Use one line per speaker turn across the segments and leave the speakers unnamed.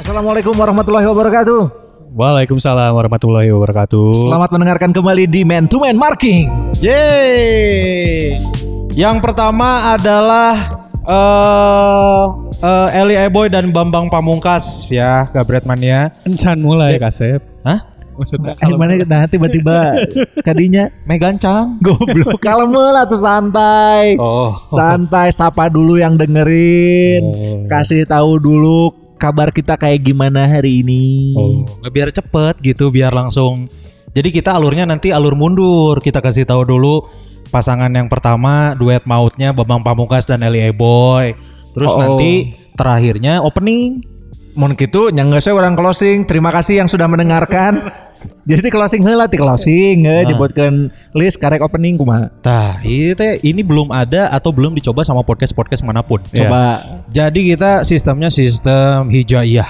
Assalamualaikum warahmatullahi wabarakatuh.
Waalaikumsalam warahmatullahi wabarakatuh.
Selamat mendengarkan kembali di Man to Man Marking.
Yeay. Yang pertama adalah eh eh, Eli Eboy dan Bambang Pamungkas ya, Gabret Mania.
Encan mulai kasep.
Hah?
Maksudnya
Eh mana nah tiba-tiba tadinya
Megancang.
goblok. Kalem lah tuh santai.
Oh.
Santai sapa dulu yang dengerin. Kasih tahu dulu kabar kita kayak gimana hari ini.
Biar cepet gitu, biar langsung. Jadi kita alurnya nanti alur mundur. Kita kasih tahu dulu pasangan yang pertama duet mautnya Bambang Pamungkas dan Eli Eboy. Terus
Oh.
nanti terakhirnya opening.
Mohon gitu nyangga saya orang closing. Terima kasih yang sudah mendengarkan. Jadi closing heula ti closing heuh dibuatkeun list karek opening kumaha.
Tah, ini teh ini belum ada atau belum dicoba sama podcast-podcast manapun.
Iya.
Coba
Jadi kita sistemnya sistem hijaiyah.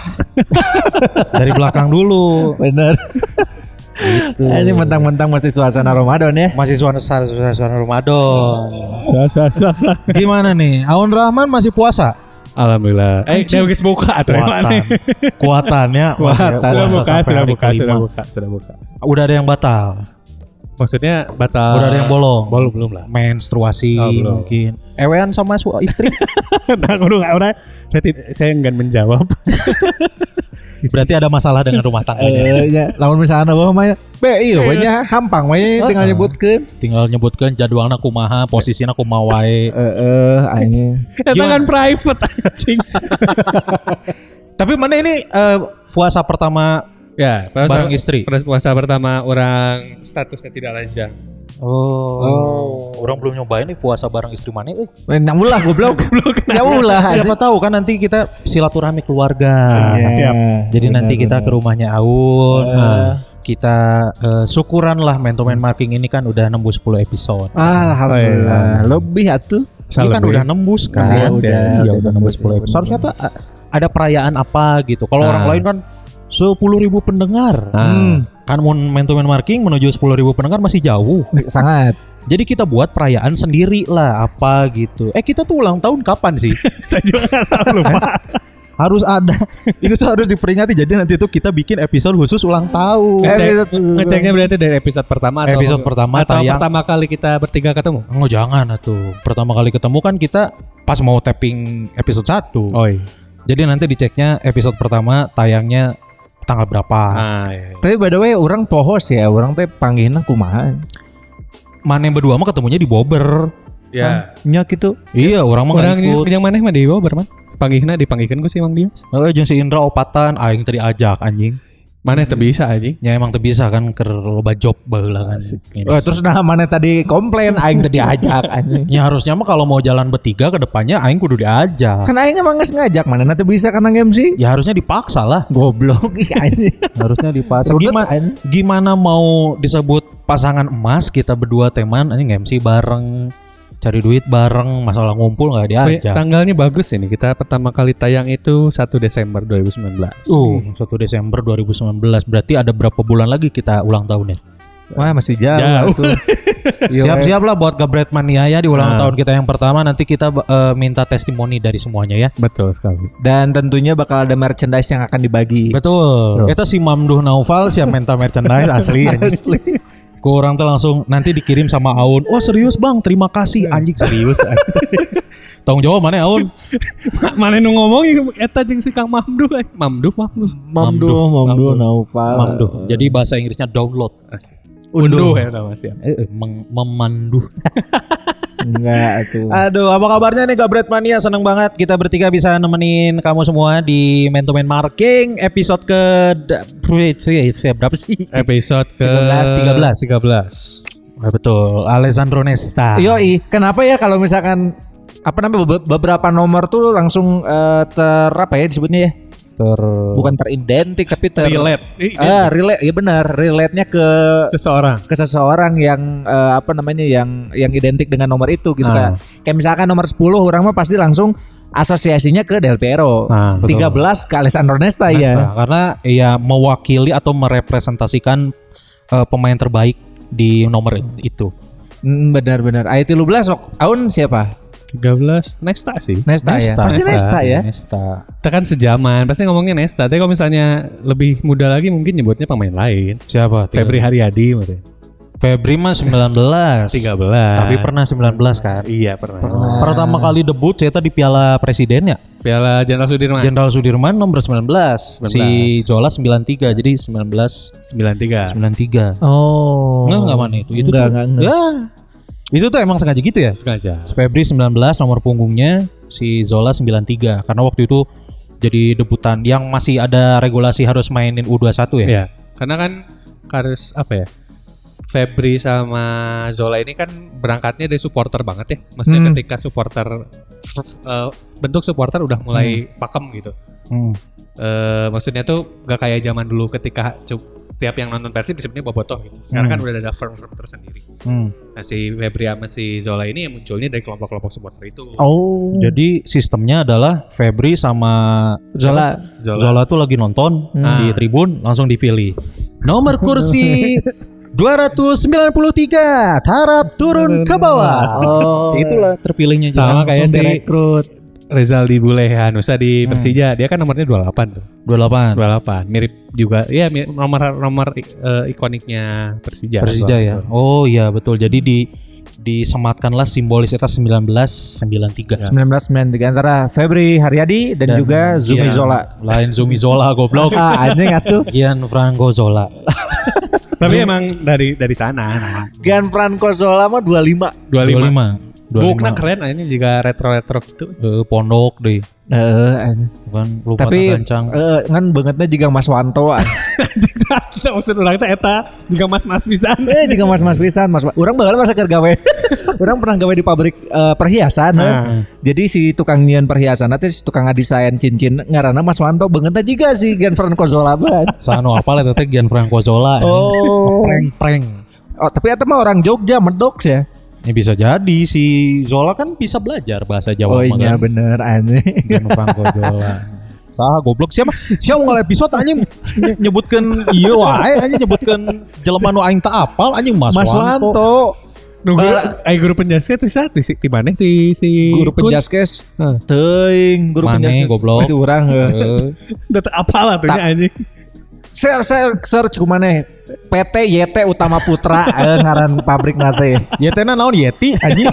Dari belakang dulu.
Bener. Ini mentang-mentang masih suasana Ramadan ya.
Masih suasana suasana suasana Ramadan.
Sah, sah, sah, sah.
Gimana nih? Aun Rahman masih puasa?
Alhamdulillah. Eh, dia geus buka atuh mana?
Kuatannya.
Kuatan. Sudah
Puasa
buka,
sampai
sudah
hari
buka,
kelima.
sudah buka, sudah buka.
Udah ada yang batal.
Maksudnya batal.
Udah ada yang bolong.
Bolong Ah, belum lah.
Menstruasi
Oh, belum.
mungkin. Ewean sama su- istri.
nah, kudu nggak orang. Saya tid- saya enggan menjawab.
Berarti ada masalah dengan rumah tangganya.
Eh, ya. Lamun misalnya bawa mah, be iya, banyak hampang, banyak tinggal nyebutkan.
Tinggal nyebutkan jadwalnya kumaha, posisinya kumaha wae.
Eh, eh, akhirnya.
Itu kan private anjing.
Tapi mana ini eh, puasa pertama
ya,
Bareng istri.
Pas puasa pertama orang statusnya tidak lajang.
Oh. Orang belum nyobain nih puasa bareng istri mana eh.
Nyambul lah goblok. Nyambul lah.
Siapa tahu kan nanti kita silaturahmi keluarga.
Iya.
Siap.
Jadi nanti kita ke rumahnya Aun. eh, kita eh, syukuran lah Man to Man Marking ini kan udah nembus 10 episode.
Alhamdulillah. Lebih atuh.
Ini kan
Salam,
udah
Bri.
nembus kan.
Iya,
Iya,
udah,
udah,
udah
nembus 10 episode. Seharusnya tuh eh, ada perayaan apa gitu. Kalau orang
Ah.
lain kan 10.000 pendengar.
Ah.
Hmm. Kan mun Man to Man Marking menuju 10.000 pendengar masih jauh.
Sangat.
Jadi kita buat perayaan sendiri lah apa gitu. Eh kita tuh ulang tahun kapan sih?
saya juga nggak tahu lupa.
harus ada. Itu tuh harus diperingati. Jadi nanti tuh kita bikin episode khusus ulang
Eh,
tahun.
Ngecek-
episode-
ngeceknya berarti dari episode pertama atau
Episode pertama
atau
tayang.
pertama kali kita bertiga ketemu.
Oh jangan tuh. Pertama kali ketemu kan kita pas mau tapping episode 1.
Oi.
Jadi nanti diceknya episode pertama tayangnya tanggal berapa.
Ah, iya, iya.
Tapi by the way, orang pohos ya, orang teh panggilna kumaha.
Mana yang berdua mah ketemunya di Bobber.
Ya.
Nyak gitu.
Iya, orang mah nggak
Orang
ikut.
yang mana mah di bawah berman? Panggihna dipanggihkan gue sih Mang Dias.
Eh, jeung si Indra opatan aing tadi ajak anjing.
Mana itu bisa anjing.
Ya emang teu bisa kan ke loba job baheula kan. Ini.
Eh, terus nah mana tadi komplain aing tadi ajak anjing.
Ya harusnya mah kalau mau jalan bertiga ke depannya aing kudu diajak.
Kan aing emang geus ngajak mana nanti bisa karena game sih.
Ya harusnya dipaksa lah.
Goblok ih anjing.
Harusnya dipaksa.
Rudet,
Gimana,
anjing.
gimana mau disebut pasangan emas kita berdua teman anjing MC bareng cari duit bareng masalah ngumpul nggak
Oh, iya,
diajak.
tanggalnya bagus ini. Kita pertama kali tayang itu 1 Desember 2019.
Uh, 1 Desember 2019 berarti ada berapa bulan lagi kita ulang ya? tahunnya?
Wah masih jauh, Iya,
Jauh.
tuh. Yo,
Siap-siap lah buat Gabret Mania ya di ulang tahun kita yang pertama nanti kita eh, minta testimoni dari semuanya ya.
Betul sekali.
Dan tentunya bakal ada merchandise yang akan dibagi.
Betul. Itu si Mamduh Naufal siap minta merchandise asli. asli. Kurang tuh langsung nanti dikirim sama Aun. Oh serius bang, terima kasih anjing serius. Tanggung jawab mana Aun?
mana nu ngomong ya? eta jeung si Kang Mamdu. eh. Mamdu, Mamdu.
Mamduh,
Mamdu,
Ah.
Naufal.
Mamduh. Jadi bahasa Inggrisnya download.
Unduh ya nama siap.
Eh, eh, meng- memanduh.
Enggak tuh.
Aduh, apa kabarnya nih Gabret Mania? Seneng banget kita bertiga bisa nemenin kamu semua di Man to Man Marking episode ke ya, berapa sih?
Episode ke
13.
13.
Eh, Betul, Alessandro Nesta.
Yoi, kenapa ya kalau misalkan apa namanya be- beberapa nomor tuh langsung eh, ter apa ya disebutnya ya?
Ter
Bukan teridentik tapi ter
Relate. Ih,
Ah, relate. Iya benar, relate-nya ke
Seseorang.
ke seseorang yang eh, apa namanya yang yang identik dengan nomor itu gitu
Ah.
kan. Kayak misalkan nomor 10 orang mah pasti langsung asosiasinya ke Del Piero.
Ah, betul.
13 ke Alessandro Nesta, ya.
Nesta, karena ya mewakili atau merepresentasikan eh, pemain terbaik di nomor itu.
Mm, Hmm, benar benar. Ayat 13 sok. Aun siapa?
13 Nesta sih.
Nesta, ya.
Nesta, iya,
Pasti Nesta, ya.
Nesta.
Kita kan sejaman, pasti ngomongnya Nesta. Tapi kalau misalnya lebih muda lagi mungkin nyebutnya pemain lain.
Siapa? Tiga-
Febri Haryadi mungkin.
Febri mah 19.
13.
Tapi pernah 19 kan?
Iya, pernah.
Pertama kali debut saya di Piala Presiden ya.
Piala Jenderal Sudirman
Jenderal Sudirman nomor 19. Si Zola 93. Jadi 19
93.
93.
Oh.
Enggak enggak mana itu. Itu
Enggak,
tuh.
enggak, enggak.
Ya. Itu tuh emang sengaja gitu ya?
Sengaja.
Febri 19 nomor punggungnya si Zola 93 karena waktu itu jadi debutan yang masih ada regulasi harus mainin U21 ya.
Iya. Karena kan harus apa ya? Febri sama Zola ini kan berangkatnya dari supporter banget ya. Maksudnya
Hmm.
ketika supporter f- eh, bentuk supporter udah mulai pakem gitu.
Hmm.
Eh, maksudnya tuh gak kayak zaman dulu ketika cu- tiap yang nonton Persib disebutnya bobotoh gitu. Sekarang kan udah ada firm-firm tersendiri.
Hmm.
Nah, si Febri sama si Zola ini yang munculnya dari kelompok-kelompok supporter itu.
Oh.
Jadi sistemnya adalah Febri sama Zola. Zola,
Zola.
tuh lagi nonton
Hmm.
di tribun langsung dipilih. Nomor kursi 293 harap turun ke bawah.
Oh.
Itulah terpilihnya
Sama
Zola.
kayak
Langsung
si
direkrut.
Ya.
Rezaldi Bulehanusa di Persija, dia kan nomornya 28 tuh.
28.
28. Mirip juga ya mirip nomor nomor eh, ikoniknya Persija.
Persija ya. Oh iya betul. Jadi di disematkanlah simbolis itu 1993.
1993 antara Febri Haryadi dan, juga Zumi
Gian-
Zola.
Iya. Lain Zumi Zola goblok.
Ah, anjing atuh.
Gianfranco Zola.
Tapi emang dari dari sana.
Gianfranco Zola mah 25.
25.
25.
Bukna keren ah, ini juga retro-retro gitu.
Eh, pondok deh.
Heeh.
Bukan
Eh,
lupa
tapi
gancang.
eh, kan bangetnya juga Mas Wanto. ah.
Maksud orang teh eta juga mas-mas pisan.
eh juga Mas Mas pisan, Mas. Orang bakal masa keur gawe. orang pernah gawe di pabrik eh, perhiasan.
Ah.
eh. Jadi si tukang nyian perhiasan nanti si tukang ngadesain cincin ngaranna Mas Wanto bangetnya juga si Gianfranco Zola banget.
Sano apa lah teteh Gianfranco Zola. eh.
Oh.
Prank-prank.
Oh, tapi eta mah orang Jogja medok ya.
Ini bisa jadi si Zola kan bisa belajar bahasa
Oh
Jawa. mah
iya
kan.
bener aneh.
Gianfranco Zola. Saha goblok siapa? Siapa nggak episode anjing nye- nyebutkan iya wae anjing nyebutkan jelema nu aing tak apal anjing Mas,
Mas
Wanto.
Wanto.
Nunggu
Bala-
eh guru penjaskes di saat di si di mana di si
Guru
Kun.
penjaskes.
Hah.
Teuing guru
Mane,
penjaskes.
goblok.
Itu urang heuh.
Udah tak apal lah tuh
Tak.
nya anjing.
Share share search ya? ku maneh. PT YT Utama Putra eh, ngaran pabrik nate.
Yetena naon Yeti anjing.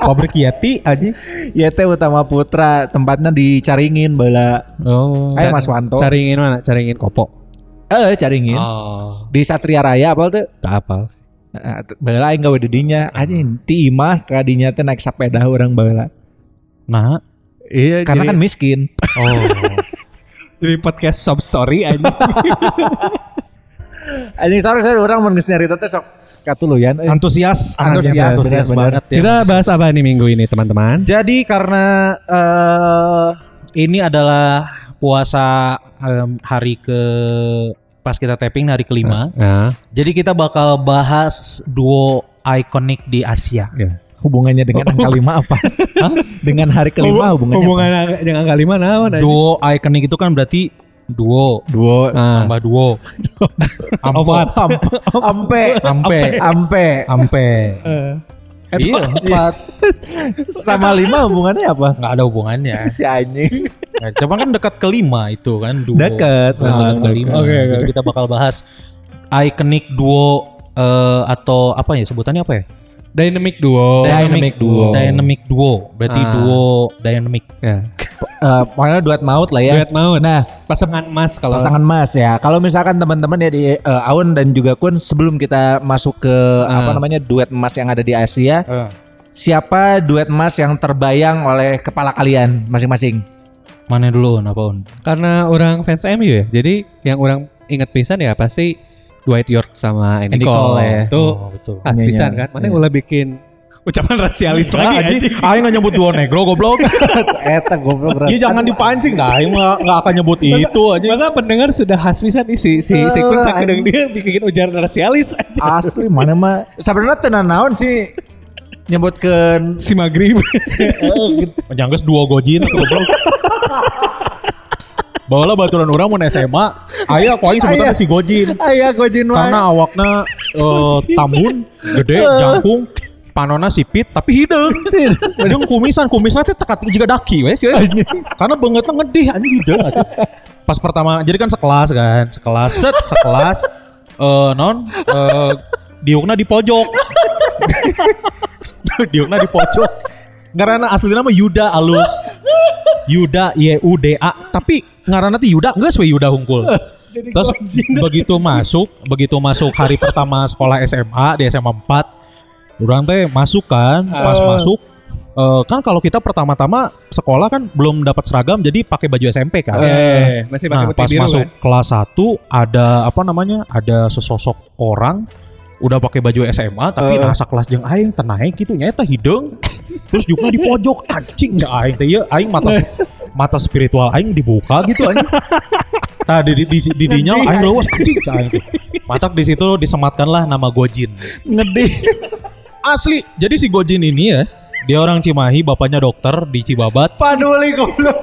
Pabrik Yeti anjing.
YT Utama Putra tempatnya di Caringin bala.
Oh.
Ayo Eh, Mas Wanto.
Caringin mana? Caringin kopo.
Eh Caringin.
Oh.
Di Satria Raya apa tuh?
Tak apal.
Nah, t- Bala aing gawe dedinya. Anjing ti imah ka dinya teh naik sepeda urang bala.
Nah.
Iya,
Karena kan
jadi,
miskin.
Oh.
jadi podcast sob story anjing.
Anjing sorry saya urang mun geus nyarita teh sok katuluyan eh, euy.
Antusias,
Antusias,
antusias
benar-benar.
banget ya.
Kita bahas apa nih minggu ini teman-teman?
Jadi karena eh, ini adalah puasa em, hari ke pas kita tapping hari kelima,
Nah,
jadi kita bakal bahas duo ikonik di Asia.
ya.
Hubungannya dengan angka lima apa? dengan hari kelima hubungannya
hubungan dengan angka lima naon anjing?
Duo ikonik itu kan berarti duo
Duo
Ah.
tambah duo. Ampo.
Apaan?
ampe
Ampe.
ampe
Ampe. Iya, empat.
sama lima hubungannya apa?
Nggak ada hubungannya.
Si anjing.
Nah, Cuman kan dekat kelima itu kan duo.
Dekat.
Nah, dekat kelima.
Ah, oke, oke,
Jadi
oke.
kita bakal bahas ikonik duo eh, atau apa ya sebutannya apa ya?
Dynamic duo.
Dynamic duo.
Dynamic duo. Berarti
Ah.
duo dynamic.
Ya.
Eh, Pokoknya duet maut lah ya.
Duet maut.
Nah,
Pasangan emas kalau
pasangan Mas ya. Kalau misalkan teman-teman ya di eh, Aun dan juga Kun sebelum kita masuk ke eh, apa namanya duet emas yang ada di Asia,
Ah.
siapa duet emas yang terbayang oleh kepala kalian masing-masing?
Mana dulu on apa on?
karena orang fans MU ya. Jadi yang orang inget pisan ya pasti Dwight York sama Andy,
Andy
Cole,
Cole.
ya. Itu
Oh, betul.
as
Iya,
pisan
iya.
kan. Mana ulah bikin ucapan rasialis lagi
Aji,
anjing.
Aing nggak nyebut duo negro goblok.
Eta goblok berat.
Iya jangan dipancing dah, Aing mah nggak akan nyebut itu Nah. aja.
Masa pendengar sudah khas pisan nih, si si si
Eh,
Kun sakedeung dia bikin ujar rasialis anjing.
Asli mana mah sebenarnya tenan naon sih nyebutkan
si Magrib.
Menjangkes duo gojin itu goblok. Bahwa baturan orang mau SMA, ayah aku aing sebutannya si gojin.
Ayah gojin wae.
karena awakna eh, tambun gede jangkung panona sipit tapi hideung. Jeung kumisan, kumisna teh tekat juga daki we sih. Karena bangetna ngedih anjing hideung atuh. Pas pertama jadi kan sekelas kan, sekelas set sekelas eh non eh diukna di pojok. diukna di pojok. Karena aslinya mah Yuda alus. Yuda Y U D A tapi ngaranna teh Yuda geus we Yuda hungkul. Terus begitu masuk, begitu masuk hari pertama sekolah SMA di SMA 4, orang teh masuk kan, pas masuk eh, kan kalau kita pertama-tama sekolah kan belum dapat seragam jadi pakai baju SMP kan.
Eh, masih pakai
Nah,
putih
pas
biru
masuk
kan?
kelas 1 ada apa namanya? Ada sesosok orang udah pakai baju SMA tapi
Heeh.
asa kelas jeung aing tenaik gitu nya eta hideung. Terus juga di pojok anjing da aing teh ieu aing
Eh.
mata mata spiritual aing dibuka gitu anjing. Nah, di di di, di dinya aing lewas anjing da aing teh. Matak di situ disematkanlah nama Gojin.
Ngedih.
Asli, jadi si Gojin ini ya, dia orang Cimahi, bapaknya dokter di Cibabat.
Paduli goblok.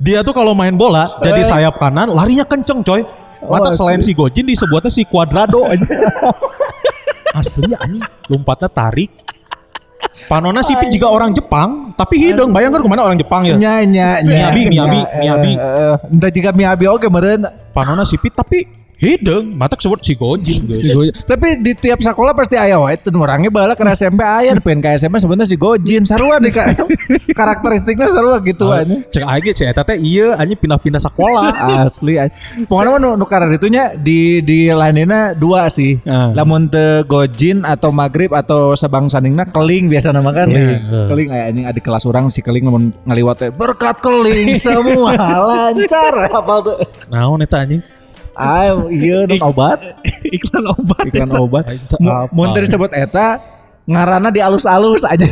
Dia tuh kalau main bola jadi sayap kanan, larinya kenceng coy. Mata
asli.
selain si Gojin disebutnya si Cuadrado aja. Asli anjing, lompatnya tarik. Panona Sipin juga orang Jepang, tapi hidung bayangkan kemana orang Jepang ya.
Nya nya nya.
Miyabi, miyabi,
Nya, eh,
miyabi.
eh, Entah jika miyabi oke meren.
Panona Sipin tapi hidung, mata sebut si Gojin. gitu.
Tapi di tiap sekolah pasti aya wae teu orangnya bala ke SMP aya pengen ke SMA sebenarnya si Gojin sarua deh Kak. Karakteristiknya sarua gitu aja.
Cek aja cek eta teh iya anjing pindah-pindah sekolah.
Asli aja. Pokoknya mah nu, nu karar itunya di di lainnya dua sih.
Ah.
Lamun teu Gojin atau Maghrib atau Sebang Saningna keling biasa nama kan.
Keling, eh.
Keling aya anjing adik kelas orang si keling lamun ngaliwat teh berkat keling semua lancar hafal tuh.
Naon eta anjing?
Ayo, iya non obat.
Iklan obat.
iklan obat.
Eta
Mu-
ya. apa?
Mun teu disebut eta ngarana di alus-alus aja.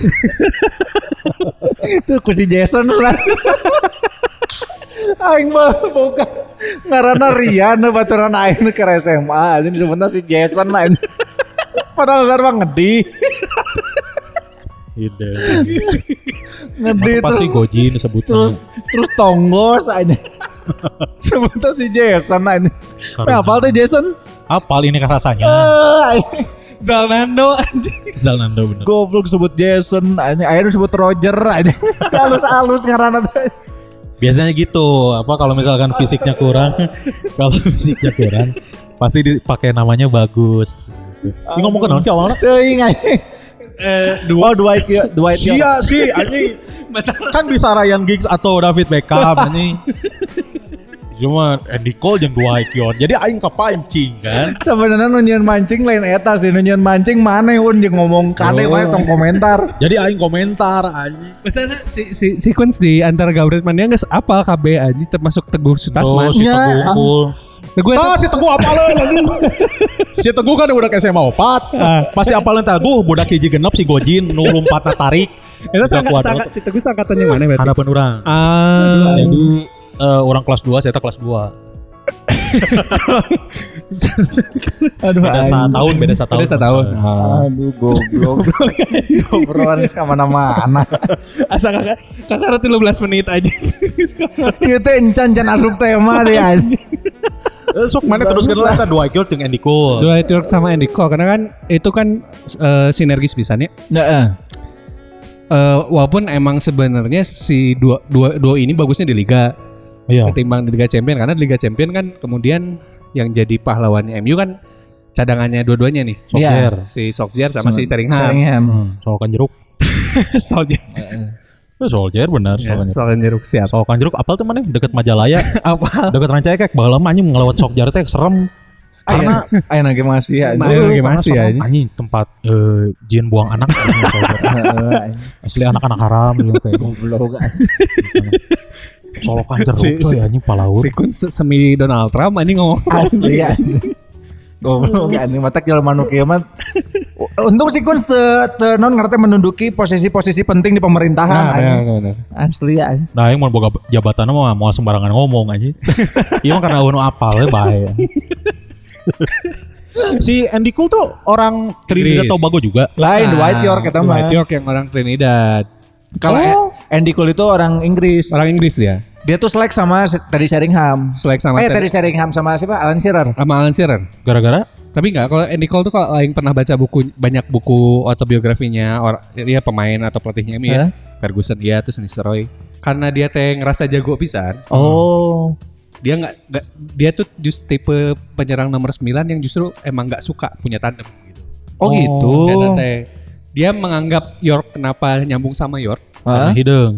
Itu ku si Jason lah. Aing mah buka ngarana Rian baturan aing nu ke SMA aja disebutna si Jason aja. Padahal sarwa ngedi,
Gitu.
ngedi
Mata
terus
pasti Gojin disebut.
terus terus tonggos aja. Sebutnya si Jason aja.
Karunya.
Nah, apal teh Jason?
apal ini kan rasanya.
Eh,
Zalnando anjing.
Eh. Zalando bener.
Goblok sebut Jason anjing, akhirnya disebut Roger anjing. Halus-halus ngaranna teh.
Biasanya gitu, apa kalau misalkan fisiknya kurang, kalau fisiknya kurang pasti dipakai namanya bagus. Ini ngomong ke naon sih awalnya?
Teuing anjing. Oh Dwight Yo- Dwight Yo-
Iya sih anjing. Kan bisa Ryan Giggs atau David Beckham anjing. Cuma Andy Cole jeung Dwight York. Jadi aing kepancing kan.
Sebenarnya nu nyeun mancing lain eta sih, nu nyeun mancing mana un jeung ngomong kade
Oh.
wae tong komentar.
Jadi aing komentar anjing.
Misalnya si, si, sequence di antara Gabriel Mania nggak apa KB anjing termasuk Teguh
Oh,
Sutasman.
si
Nya.
Teguh unggul.
Teguh
Ah si Teguh apalan anjing. Ah. si Teguh kan budak SMA 4. Pasti apalan Teguh budak hiji genep si Gojin nu lompatna tarik.
itu
Bisa
sangka,
kuat
sangka, si Teguh sangkatannya mana berarti?
Hadapan orang.
Ah,
Jadi eh, orang kelas 2 saya teh kelas 2.
Aduh.
Beda
anjing.
satu tahun, beda satu tahun.
Beda setahun.
Aduh goblok. Obrolan ke mana-mana.
asal kakak kakak 15 menit aja.
Ieu teh encan can asup tema deh anjing.
Eh, Sok mana teruskan lah eta dua girl jeung Andy Cole.
Dua York sama Andy Cole karena kan itu kan eh, sinergis pisan ya.
Heeh.
Eh, walaupun emang sebenarnya si dua, dua, dua ini bagusnya di liga
Iya.
ketimbang di liga champion karena di liga champion kan kemudian yang jadi pahlawannya MU kan cadangannya dua-duanya nih.
Iya. Nah,
Si Sokjer sama si Sheringham.
Seringham.
Soal kan jeruk.
Solskjaer.
Eh, Soldier bener
iya.
soal kan jeruk.
Soalnya jeruk siapa?
Soal kan jeruk apal teman nih deket Majalaya,
Apa?
deket ya, Rancaikek, baheula mah anjing ngelawat sok jarak teh serem.
Karena ayeuna ge masih ya.
Ma- Ayo,
Eh,
gimana
karena
sih,
serem.
anjing?
Anjing tempat eh, jin buang anak. anjing, Soal Jer. Asli anak-anak haram gitu teh.
Goblok.
Soal kan jeruk
Si-
coy anjing palaur.
Si Kun se- semi Donald Trump ini ngomong.
Asli Iya. ya. Goblok anjing matak jalan manuk ieu mah. Untung si Kun teu teu non ngerti menduduki posisi-posisi penting di pemerintahan
Nah, iya.
anjing. Asli ya. anjing.
Nah, yang mau boga jabatan mah mau sembarangan ngomong aja. Iya mah karena uno apal ya bae. si Andy Cole tuh orang Trinidad
Inggris.
Tobago juga.
Nah,
Lain Dwight York ya, eta mah.
Dwight York yang orang Trinidad.
Kalau E- Andy Cole itu orang Inggris.
Orang Inggris dia.
Dia tuh selek sama se- Teddy Sheringham.
Selek sama
eh
Ted-
Teddy Sheringham sama siapa? Alan Shearer.
sama Alan Shearer.
Gara-gara
Tapi enggak kalau Andy Cole tuh kalau yang pernah baca buku banyak buku autobiografinya or dia pemain atau pelatihnya MU ya.
Hah?
Ferguson iya terus Nisroy. Karena dia teh ngerasa jago pisan,
Oh.
dia nggak nggak- dia tuh just tipe penyerang nomor 9 yang justru emang nggak suka punya tandem gitu.
Oh, gitu.
Dan teh dia menganggap York kenapa nyambung sama York?
Hah?
karena hidung.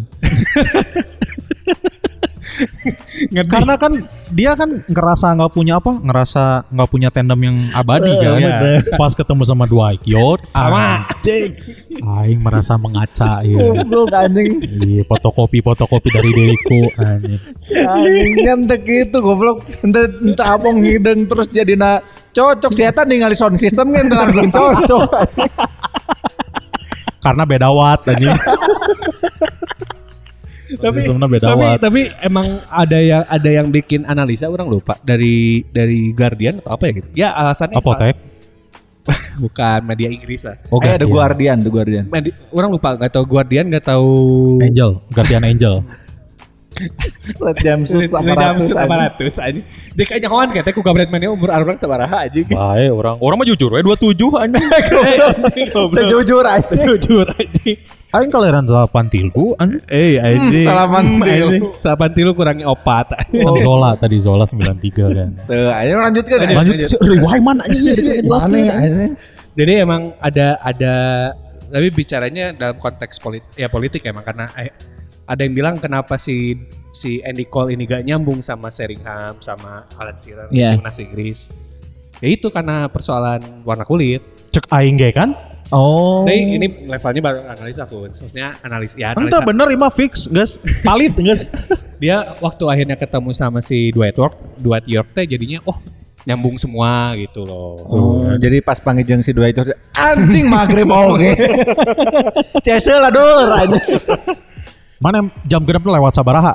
Karena kan dia kan ngerasa nggak punya apa, ngerasa nggak punya tandem yang abadi kan.
Iya.
Pas ketemu sama Dwight York, sama Aing merasa mengaca ya.
Goblok anjing.
Iya, fotokopi fotokopi dari diriku anjing.
Anjing nyentek itu gitu, goblok. Ente ente abong hidung terus jadi na cocok si eta ningali sound system kan ente langsung cocok.
Karena beda watt anjing. Sistemnya beda
tapi,
watt.
tapi emang ada yang ada yang bikin analisa orang lupa dari dari Guardian atau apa ya gitu. Ya alasannya
Apotek.
bukan media Inggris lah.
Oh,
Eh, ada
Guardian.
Guardian, The Guardian.
Medi- orang lupa nggak tahu Guardian nggak tahu
Angel, Guardian Angel.
Let them shoot sama ratus.
sama
anjing.
ratus aja. Jadi kayaknya kawan kata ku kabaret mana umur orang sabaraha aja.
Baik orang. Orang mah jujur, eh 27 anjing.
Teu Jujur aja.
Jujur aja.
Aing kaliran 8 tilku anjing. Hmm,
Eh aja.
salapan tilu.
Salapan tilu kurangnya opat.
Kan Zola tadi Zola 93 kan.
Tuh, ayo lanjutkan. ya.
Lanjut si Rewiman anjing
Mana ya, anjing?
Jadi emang ada ada tapi bicaranya dalam konteks politik ya politik emang karena eh, ada yang bilang kenapa si si Andy Cole ini gak nyambung sama Sheringham sama Alan Shearer di
Iya.
timnas Inggris. Ya itu karena persoalan warna kulit.
Cek aing ge kan?
Oh.
Tapi ini levelnya baru analisa aku. Maksudnya analis ya analisa.
Ente bener ima fix, guys. Valid, guys.
Dia waktu akhirnya ketemu sama si Dwight York, Dwight York teh jadinya oh nyambung semua gitu loh.
Oh, jadi pas panggil si dua itu anjing maghrib oke. Cesel lah dor anjing.
Mana jam genep lewat sabaraha?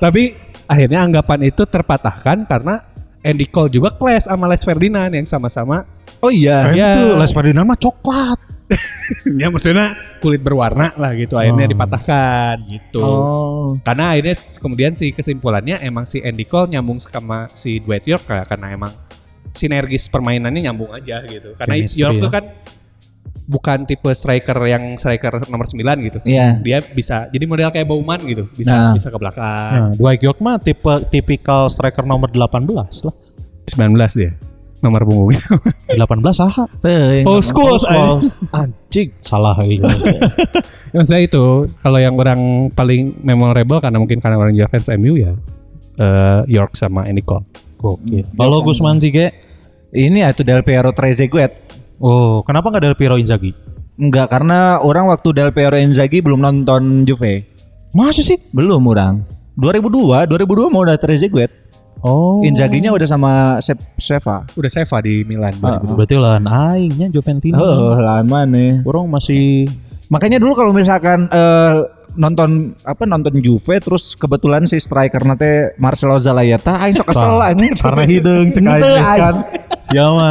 Tapi akhirnya anggapan itu terpatahkan karena Andy Cole juga clash sama Les Ferdinand yang sama-sama
Oh iya.
Iya.
Itu Les Ferdinand mah coklat.
ya maksudnya kulit berwarna lah gitu akhirnya dipatahkan gitu.
Oh.
Karena akhirnya s- kemudian si kesimpulannya emang si Andy Cole nyambung sama si Dwight York lah, karena emang sinergis permainannya nyambung aja gitu. Karena
Chemistry
York
ya.
tuh kan bukan tipe striker yang striker nomor 9 gitu.
Iya.
Dia bisa jadi model kayak Bauman gitu, bisa
Nah.
bisa ke belakang.
Nah, Dwight York mah tipe tipikal striker nomor 18 lah.
19 dia nomor punggungnya.
18 saha?
Tuh,
Oh,
school,
eh. Anjing, salah eh, ya. euy.
Yang saya itu kalau yang orang paling memorable karena mungkin karena orang juga fans MU ya eh, York sama Andy Cole.
Oke. Kalau Gusman sih ge,
ini ya tuh Del Piero Trezeguet.
oh, kenapa nggak dari Piero Inzaghi?
Enggak karena orang waktu Del Piero Inzaghi belum nonton Juve.
Masa sih?
Belum orang. 2002, 2002 mau udah Trezeguet.
Oh.
Inzaghi-nya udah sama Sep- Seva.
Udah Seva di Milan.
Berarti lahan aingnya Juventino.
Oh, lama nih.
Orang masih
Makanya dulu kalau misalkan eh, nonton apa nonton Juve terus kebetulan si striker nanti Marcelo Zalaeta aing sok kesel anjing.
karena hidung cek
Henteu,
aja
anjing.
kan. Siapa?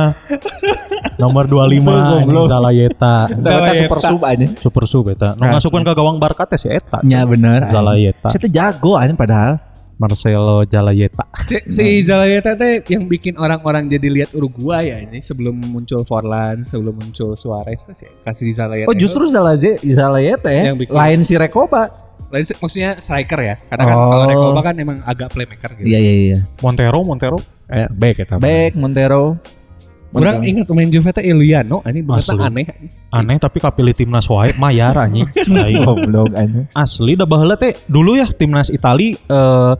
Nomor 25 anjing Zalayeta.
Zalaeta super sub aja.
Super sub eta. Nu ngasupkeun ka gawang Barca teh si eta.
Ya bener. anjing.
Zalaeta.
Saya tuh jago aja padahal.
Marcelo Zalayeta.
Si, si Zalaeta teh yang bikin orang-orang jadi lihat Uruguay ya ini sebelum muncul Forlan, sebelum muncul Suarez teh sih kasih Zalaeta.
Oh justru Zalaze, Zalaeta ya.
Yang bikin-
Lain si Rekoba.
itu. Lain se- maksudnya striker ya. Karena kan
Oh.
kalau Recoba kan emang agak playmaker gitu.
Iya iya iya.
Montero, Montero.
Eh, baik ya
Back Montero.
Orang ingat pemain Juve teh Iliano, ini bahasa
Asli.
aneh.
Iya.
Aneh tapi kapilih timnas wae mayar anjing. Aing.
goblok aja.
Asli dah baheula teh dulu ya timnas Itali eh,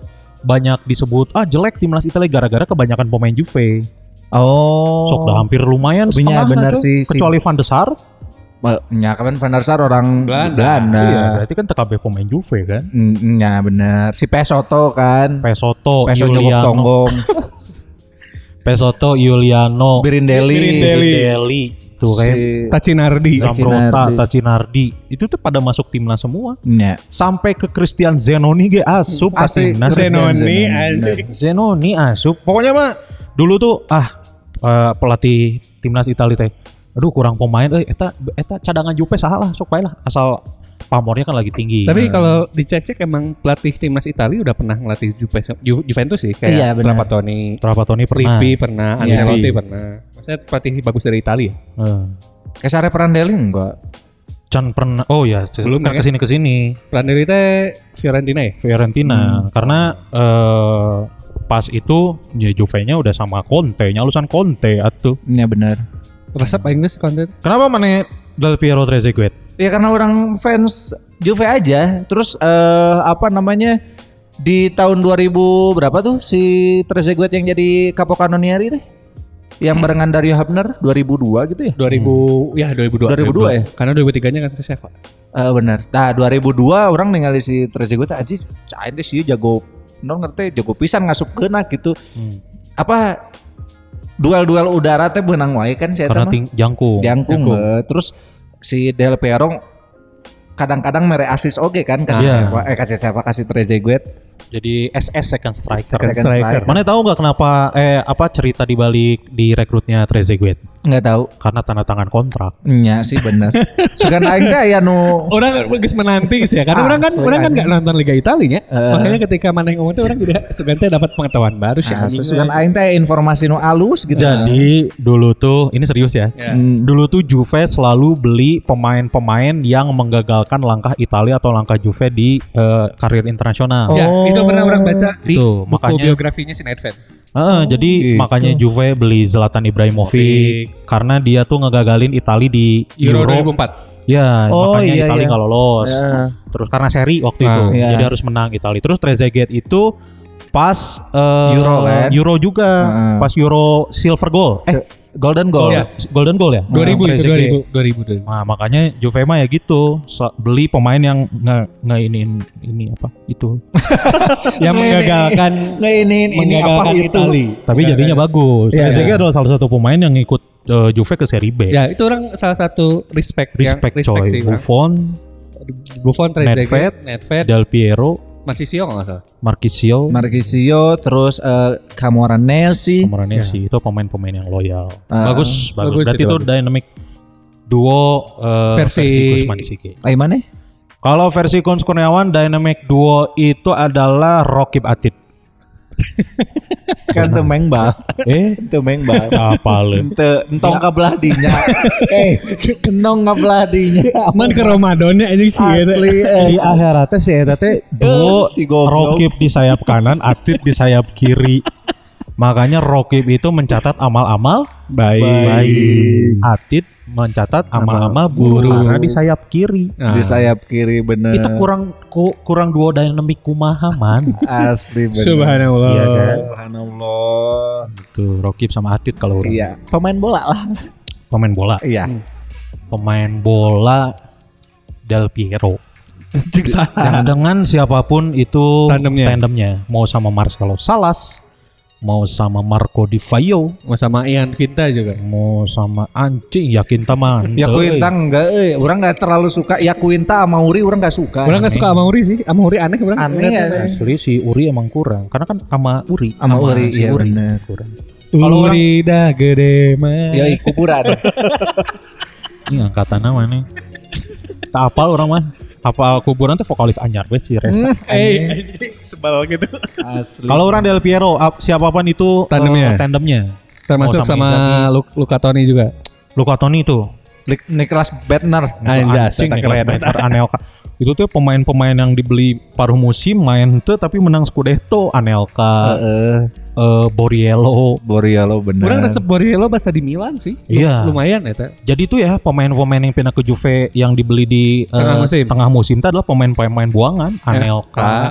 banyak disebut ah jelek timnas Itali gara-gara kebanyakan pemain Juve.
Oh.
Sok dah hampir lumayan
Iya,
setengah
benar
atuh.
sih, si-
kecuali Van de Sar.
Ba- Ya kan Van der Sar orang
Belanda.
Belanda.
Iya, berarti kan TKB pemain Juve kan.
Mm, Ya bener. Si Pesoto kan.
Pesoto,
Peso nyogok
Oh, Yuliano,
tonggong.
Pesoto, Yuliano,
Birindelli.
Birindelli.
Deli, tuh kayak
Si-
Tacinardi.
Zamrota, Tacinardi, itu tuh pada masuk timnas semua.
Ya.
Sampai ke Christian Zenoni ge asup ke
Asli,
timnas.
Christian
Zenoni
Zenoni.
anjing.
Zenoni asup. Pokoknya mah dulu tuh ah eh, pelatih Eh, timnas Italia teh. Aduh kurang pemain euy eta eta cadangan Juve salah lah sok bae lah asal pamornya kan lagi tinggi.
Tapi kalau dicek-cek emang pelatih timnas Italia udah pernah ngelatih Juve- Ju- Juventus sih kayak
Iya, benar.
Nah.
Trapattoni,
Trapattoni pernah. Iya.
Lippi pernah, Ancelotti
Lippi.
pernah. Maksudnya pelatih bagus dari Italia.
Eh,
Kesare Prandelli enggak?
Chan pernah. Oh ya,
Belum
belum kan
ya?
kesini kesini.
Pelatih dari teh Fiorentina ya.
Fiorentina karena eh, pas itu ya Juve-nya udah sama Conte, nyalusan Conte atuh.
Iya benar.
Resep Inggris konten.
Kenapa mana Del Piero Trezeguet?
Ya karena orang fans Juve aja. Terus eh, apa namanya di tahun 2000 berapa tuh si Trezeguet yang jadi Capocanonieri teh? Yang
Hmm.
barengan Dario Hubner 2002 gitu ya?
2000 ya 2002.
2002 ya?
Karena 2003-nya kan ke siapa?
Eh benar. Nah 2002 orang ningali si Trezeguet aja cai teh sih jago no ngerti jago pisan ngasup kena gitu.
Hmm.
Apa duel-duel udara teh benang wae kan saya
Karena ting jangkung.
jangkung eh. terus si Del Piero kadang-kadang mere asis oke kan kasih
Iya.
Serva eh kasih Serva kasih Trezeguet
Jadi SS second striker.
Second striker.
Mana tahu nggak kenapa eh apa cerita di balik direkrutnya Trezeguet?
nggak tahu
Karena tanda tangan kontrak.
nya sih bener suka aing teh aya nu
Orang bagus menanti sih ya. Karena orang kan
Asli,
orang kan
anjing.
nggak nonton Liga Italia ya.
Eh.
Makanya ketika mana yang ngomong tuh orang tidak Sugante dapat pengetahuan baru sih.
Ah,
Nah,
anjing.
sugan aing teh informasi nu alus gitu
Jadi dulu tuh ini serius ya.
Iya.
Ya.
Hmm, Dulu tuh Juve selalu beli pemain-pemain yang menggagalkan langkah Italia atau langkah Juve di eh, karir internasional.
Ya, itu pernah orang baca di
Tuh, Oh.
buku
makanya-
biografinya si Nedved.
Oh,
Heeh, jadi
gitu.
makanya Juve beli Zlatan Ibrahimovic karena dia tuh ngegagalin Itali di
Euro
Euro.
2004.
Ya,
Oh,
makanya
iya,
Itali
iya.
nggak lolos. Terus karena seri waktu itu,
iya.
jadi harus menang Itali. Terus Trezeguet itu pas eh,
Euro, kan?
Euro juga,
Heeh.
pas Euro silver goal. Eh,
Se- golden goal
Iya.
golden goal ya?
2000 itu
Trezeguet.
2000 2000.
Nah, makanya Juve mah ya gitu, so- beli pemain yang nge, nge ini ini apa itu. yang menggagalkan
nggak ini ini apa
menggagalkan
itu
Itali. Tapi jadinya bagus.
Iya,
Trezeguet adalah salah satu pemain yang ikut eh, Juve ke Serie B.
Ya, itu orang salah satu respect yang-
Respect
respect
coy,
sih orang.
Buffon,
Buffon,
Nedved.
Trezeguet, Nedved,
Del Piero,
masih Sio nggak salah.
Marchisio,
Marquisio terus eh, Camoranesi
Moranesi itu pemain-pemain yang loyal. bagus, bagus.
bagus
Berarti
itu,
itu
bagus.
dynamic duo eh,
Versi-
Guzman Siki.
Ayo Eh, mana?
Kalau versi Kons Kurniawan dynamic duo itu adalah Rokib Atit.
Kan teu mengbal,
Eh,
teu mengbal.
apa lu?
Teu entong kabelah dinya. Eh, kenong kabelah dinya.
Man ke Ramadannya ya, anjing
Asli eh.
Iya.
Di akhiratnya si Eta teh
Eh,
duo
si goblok.
Rokib di sayap kanan, Atit di sayap kiri. Makanya Rokib itu mencatat amal-amal
Baik.
Atit mencatat amal-amal buruk karena di sayap kiri.
di sayap kiri bener
Itu kurang ku- kurang duo dynamic kumaha man.
asli bener
Subhanallah.
Iya kan?
subhanallah
Tuh Rokib sama Atit kalau orang.
iya pemain bola lah
pemain bola,
iya
pemain bola Del Piero. Dan dengan siapapun itu
Tandemnya.
mau sama Marcelo Salas, mau sama Marco Di Vaio,
Mau sama Ian Quinta juga.
mau sama anjing yakin teman.
ya Quinta enggak eh orang enggak terlalu suka ya Quinta sama Uri orang enggak suka
Orang nggak suka sama Uri sih. Sama Uri aneh orang.
aneh ya
Asli si Uri emang kurang, karena kan sama Uri,
Sama Uri,
si
iya
Uri
bener.
kurang. Kalau orang
Uri dah gede mah.
ya ih, kuburan
ini angkatan nama nih. tak apal orang man. Apa kuburan tuh vokalis anyar wes si Reza.
Hmm.
Eh, sebal gitu.
Kalau orang Del Piero ap- siapapun itu eh,
Tandemnya.
tandemnya.
Termasuk
Mau sama
sama, Lu- Luca Toni juga.
Luca Toni tuh
Nik- Nicholas Bettner
Ah,
Anjing, Nicolas Peter, Anelka. Itu tuh pemain-pemain yang dibeli paruh musim main tuh tapi menang Scudetto, Anelka, eh, Borriello.
Borialo bener
Orang resep Borriello bahasa di Milan sih. Lu-
Iya.
Lumayan ya. Teh.
Jadi tuh ya pemain-pemain yang pindah ke Juve yang dibeli di eh,
Tengah musim.
tengah musim itu adalah pemain-pemain buangan, Anelka.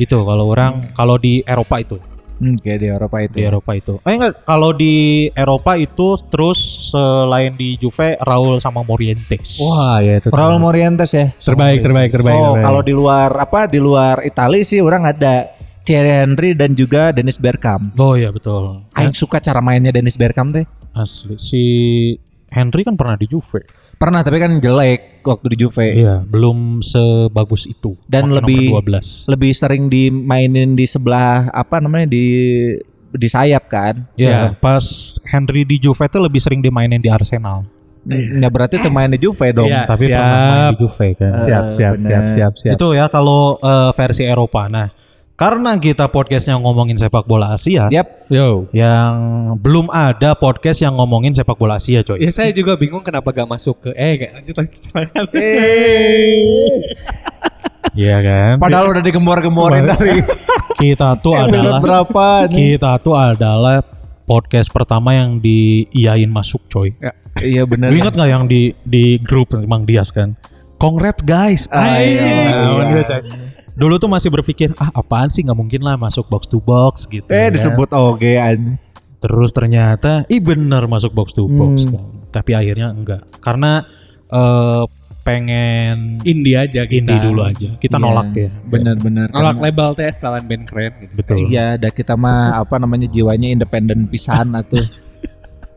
itu kalau orang kalau di Eropa itu,
Hmm, kayak di Eropa itu
Iya,
di Eropa itu. Eh enggak, kalau di Eropa itu terus selain di Juve Raul sama Morientes.
ya itu.
Raul Morientes ya
Terbaik, terbaik, terbaik.
oh
terbaik.
kalau di luar apa di luar Itali sih orang ada Thierry Henry dan juga Dennis Bergkamp
Oh iya betul.
Aing suka cara mainnya Dennis Bergkamp teh
Asli si Henry kan pernah di Juve.
Pernah tapi kan jelek waktu di Juve.
Iya, belum sebagus itu.
Dan
Waktu
lebih-
nomor 12.
Lebih sering dimainin di sebelah apa namanya di di sayap kan.
Iya,
Iya.
pas Henry di Juve itu lebih sering dimainin di Arsenal.
Ya berarti temannya Juve dong.
Iya.
Tapi
Siap. Eh,
pernah main di Juve kan.
Siap, siap, siap, siap, siap.
Itu ya kalau eh, versi Eropa. Nah, karena kita podcastnya ngomongin sepak bola Asia,
Yap.
yo, yang belum ada podcast yang ngomongin sepak bola Asia, coy.
Iya.
Ya saya juga bingung kenapa gak masuk ke eh gak lanjut lagi celangan.
Eh.
Iya kan?
Padahal udah digembor-gemborin dari
kita tuh
episode
adalah
berapa nih.
kita tuh adalah podcast pertama yang diiyain masuk, coy.
Iya benar.
Lu ingat nggak yang di di grup Mang Dias kan? Kongret guys.
Ah, iya,
Anjing.
iya.
Nah, dia tanya. Dulu tuh masih berpikir ah apaan sih nggak mungkin lah masuk box to box gitu.
Eh
ya.
disebut oge anjing.
Terus ternyata ih bener masuk box to box
Hmm.
kan. Tapi akhirnya enggak karena eh, pengen
Indie aja kita.
indie dulu aja. Kita
Iya.
nolak ya.
Benar-benar.
Nolak label tes lawan band keren gitu.
Betul.
Iya, dah kita mah apa namanya jiwanya independen pisan atuh.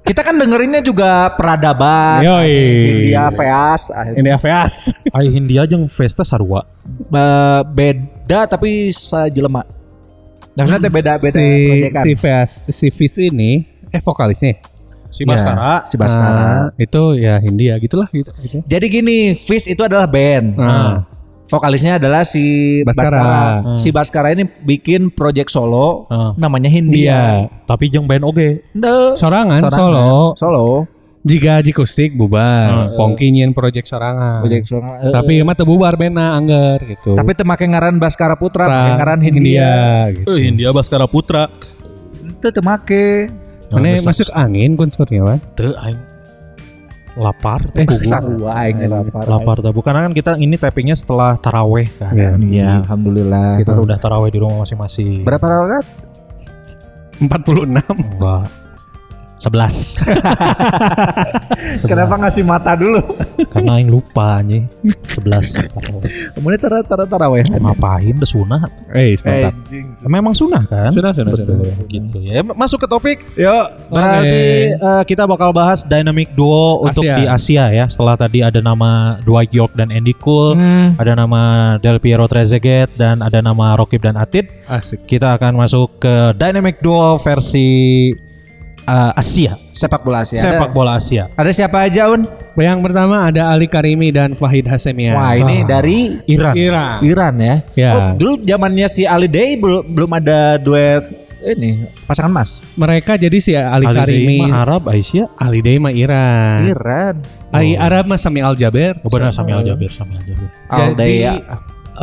kita kan dengerinnya juga peradaban. ah,
Yoi.
India, Veas,
Ini AVAS.
Ai Hindia jeung Vesta Sarua.
Be- beda tapi sejelema. Maksudnya teh beda beda
si si Veas, si Fis ini eh vokalisnya. Si
Baskara.
si Baskara. itu ya Hindia gitulah gitu. gitu.
Jadi gini, Fish itu adalah band. Ah.
Nah.
Vokalisnya adalah si Baskara.
Baskara. Ah.
Si Baskara ini bikin project solo
Hmm.
namanya
Iya.
Hindia.
Tapi jeung band oge.
Ente.
Sorangan,
Sorangan.
solo.
Solo.
Jika Jikustik
Ah,
bubar, Pongki nyin project sorangan.
Project solo. Eh,
Tapi emang teu bubar bena anggar gitu.
Tapi teu make ngaran Baskara Putra, make
Pra-
ngaran Hindia.
gitu.
Eh Hindia Baskara Putra.
Itu teu make.
Mana masuk angin kun
Nah,
Kurniawan?
Teu aing lapar
Eh,
tepung.
Sarua aing lapar.
lapar dah bukan kan kita ini tappingnya setelah taraweh kan
Iya.
Iya, alhamdulillah.
kita udah taraweh di rumah masing-masing
Berapa rakaat?
46.
enggak sebelas
Kenapa ngasih mata dulu?
karena yang lupa nih sebelas
Kemudian tara tara taraweh.
ngapain udah sunat
Eh, sebentar.
memang sunah kan
Sunah, sunah,
Betul.
sunah.
gitu ya masuk ke topik
Yo,
berarti eh, kita bakal bahas dynamic duo untuk
Asia.
di Asia ya setelah tadi ada nama Dwight York dan Andy Cole
Hmm.
ada nama Del Piero Trezeguet dan ada nama Rokib dan Atid
asik.
kita akan masuk ke dynamic duo versi uh, Asia
Sepak bola Asia. Ya,
sepak
Ada,
bola Asia
ada siapa aja, Un?
Yang pertama ada Ali Karimi dan Fahid Hasemia.
Wah, ini
Ah.
dari
Iran
Ya. Iran.
Iran ya.
Ya.
Oh, dulu zamannya si Ali Day belum belum ada duet ini pasangan mas.
Mereka jadi si Ali,
Ali
Karimi.
Daima, Arab Asia
Ali Daima Iran.
Iran.
Ali
Oh.
Arab mah Sami Al Jaber.
oh, benar Sami Al Jabir Sami Al Jabir
Al Day
Jadi
ya.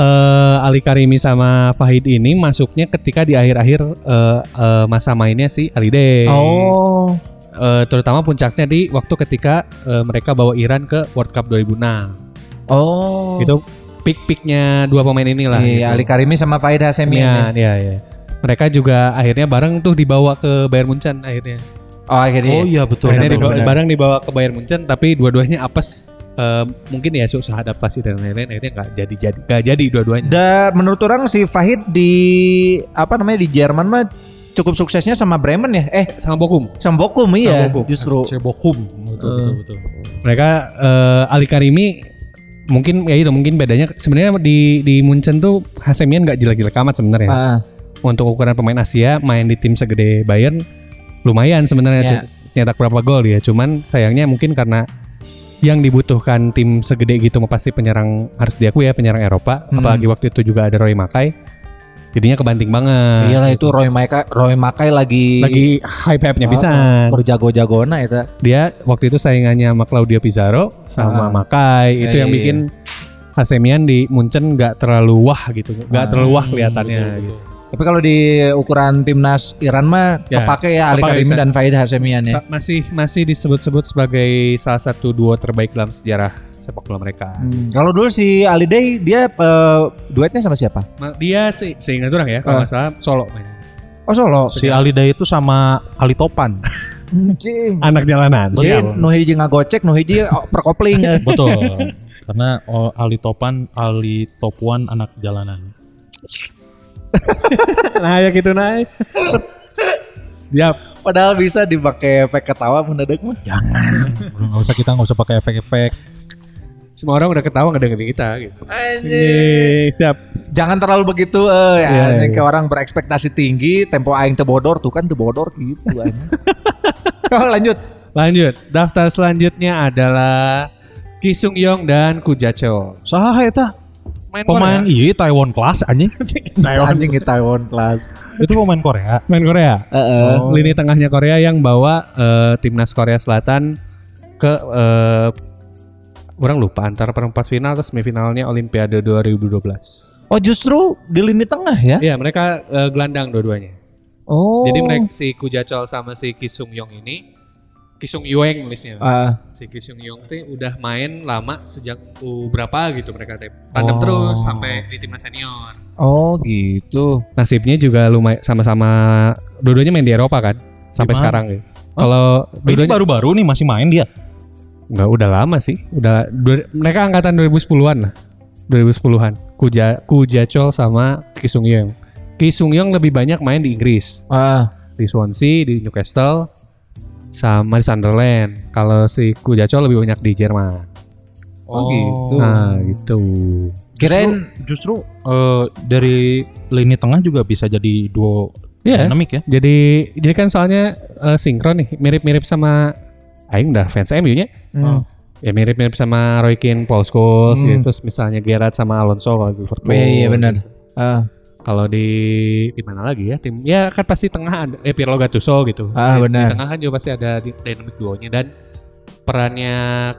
eh, Ali Karimi sama Fahid ini masuknya ketika di akhir-akhir eh, eh, masa mainnya si Ali Day.
oh
Eh, terutama puncaknya di waktu ketika eh, mereka bawa Iran ke World Cup 2006.
Oh.
Itu peak-peaknya dua pemain inilah.
Iya, ya.
gitu.
Ali Karimi sama Faid Hasemi.
Iya,
ini.
iya, iya. Mereka juga akhirnya bareng tuh dibawa ke Bayern Munchen akhirnya.
Oh, akhirnya.
oh iya betul
akhirnya
betul,
dibawa,
benar.
bareng dibawa ke Bayern Munchen tapi dua-duanya apes. Eh, mungkin ya susah adaptasi dan lain-lain akhirnya nggak jadi jadi nggak jadi dua-duanya.
Da, menurut orang si Fahid di apa namanya di Jerman mah cukup suksesnya sama Bremen ya. Eh,
Sama Bokum.
sama Bokum iya
Bokum.
justru.
Cebokum betul betul, betul.
Mereka eh, Ali Karimi mungkin ya itu mungkin bedanya sebenarnya di di Munchen tuh Hasemian nggak jelek-jelek amat sebenarnya.
Ah,
untuk ukuran pemain Asia main di tim segede Bayern lumayan sebenarnya
Ya.
cu- nyetak berapa gol ya cuman sayangnya mungkin karena yang dibutuhkan tim segede gitu pasti penyerang harus diakui ya penyerang Eropa
Hmm.
apalagi waktu itu juga ada Roy Makai jadinya kebanting banget
iyalah iya itu Roy Makai Roy Makai lagi ya,
Ah, gitu. lagi hype hype-nya bisa
Kerjago-jagona itu.
dia waktu itu saingannya sama Claudio Pizarro
Ah.
sama Makai itu
Ya,
yang
iya,
bikin Hasemian di Munchen nggak terlalu wah gitu nggak
Ah.
terlalu wah kelihatannya
Hmm.
Iya,
gitu.
Tapi kalau di ukuran timnas Iran mah
Ya,
kepake ya Ali
kepake
Karimi
bisa.
dan Faid Hasemian ya.
Sa- masih masih disebut-sebut sebagai salah satu duo terbaik dalam sejarah sepak bola mereka.
Hmm, Kalau dulu si Ali Day dia eh, duetnya sama siapa?
Ma- Dia sih seingat orang ya kalau nggak salah solo mainnya.
Oh Solo.
si Ali Day itu sama Ali Topan
Cing.
Anak jalanan.
Jadi nu hiji ngagocek, nu hiji oh, perkopling. eh.
betul karena oh, Ali Topan Ali Topuan anak jalanan
nah, ya gitu naik. Siap.
Padahal bisa dipakai efek ketawa mendadak mah.
jangan nggak usah kita nggak usah pakai efek-efek
Semua orang udah ketawa ngedengerin kita gitu. Yeay, siap.
Jangan terlalu begitu eh ya,
Iya,
anjing,
iya.
kayak orang berekspektasi tinggi, tempo aing tebodor tuh kan tebodor gitu anjing. oh, lanjut.
Lanjut, daftar selanjutnya adalah Ki Sung Yong dan Kuja Cheo.
Saha eta?
Main
Pemain
Korea.
iya Taiwan class anjing.
Anjing di Taiwan class.
Nah, Itu pemain Korea.
Main Korea. Oh.
Heeh.
Lini tengahnya Korea yang bawa eh, timnas Korea Selatan ke eh, orang lupa antara perempat final atau semifinalnya Olimpiade 2012.
Oh justru di lini tengah ya?
Iya, mereka eh, gelandang dua-duanya.
Oh.
Jadi mereka si Kujacol sama si Kisung Yong ini Kisung Yueng nulisnya.
Ah,
Si Kisung Yong tuh udah main lama sejak U berapa gitu mereka teh. tandem terus sampai di timnas senior.
oh gitu.
Nasibnya juga lumayan sama-sama dua-duanya main di Eropa kan sampai
Gimana?
sekarang gitu. Kalau
Ini
dua-duanya
baru-baru nih masih main dia.
Enggak, udah lama sih. Udah dua- mereka angkatan 2010-an lah. 2010-an. Kuja Kujacol sama Kisung Yong. Kisung Yong lebih banyak main di Inggris,
Ah,
di Swansea, di Newcastle sama di Sunderland. Kalau si Kujacol lebih banyak di Jerman.
oh, gitu.
Nah, gitu.
Kirain
justru eh, dari lini tengah juga bisa jadi duo
Iya.
dinamik ya.
Jadi jadi kan soalnya eh, sinkron nih, mirip-mirip sama aing dah fans MU-nya.
Hmm.
Ya mirip-mirip sama Roy Keane, Paul Scholes, gitu. terus misalnya Gerrard sama Alonso kalau di Liverpool.
Iya iya benar. Ah,
kalau di di mana lagi ya tim ya kan pasti tengah ada eh Pirlo Gattuso gitu
Ah,
Di-
benar.
di tengah kan juga pasti ada di- dynamic duonya dan perannya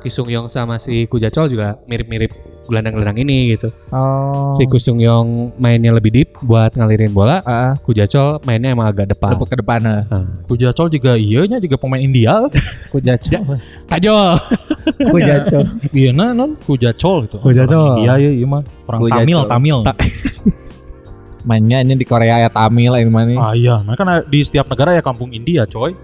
Kisung Yong sama si Kujacol juga mirip-mirip gelandang-gelandang ini gitu
oh.
si Kisung Yong mainnya lebih deep buat ngalirin bola
Ah,
Kujacol mainnya emang agak depan
ke depan. ah.
Kujacol juga iya juga pemain India.
Ku jacol.
Kajol
Ku jacol.
iya nah non Kujacol gitu.
Kujacol.
Iya iya iya mah. Orang
Kujacol.
Tamil Tamil.
Mainnya ini di Korea ya Tamil ini mana?
ah iya, nah kan ada- di setiap negara ya kampung India coy.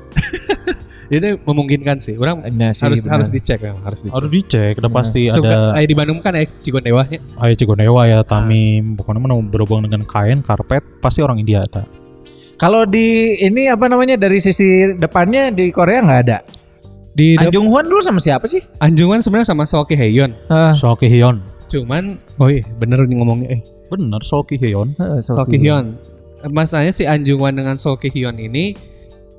itu memungkinkan sih orang
Iya sih,
harus
benar.
harus dicek memang, harus dicek
Harus dicek, udah pasti
Suka-
ada
eh, di Bandung kan ya Cigon Dewanya
Ayo Cigonewa ya Tamim, pokoknya mana berhubungan dengan kain, karpet, pasti orang India ta.
Kalau di ini apa namanya dari sisi depannya di Korea nggak ada.
di
An Ah, Jung Hwan dulu sama siapa sih?
Anjungan sebenarnya sama Sol Heyon
Ah,
Sol Kihyun.
cuman oh iya bener nih ngomongnya eh
Bener Sol Kihyun.
eh,
Sol Ki-hyun. Eh, Masalahnya si Anjungwan dengan Sol Ki-hyun ini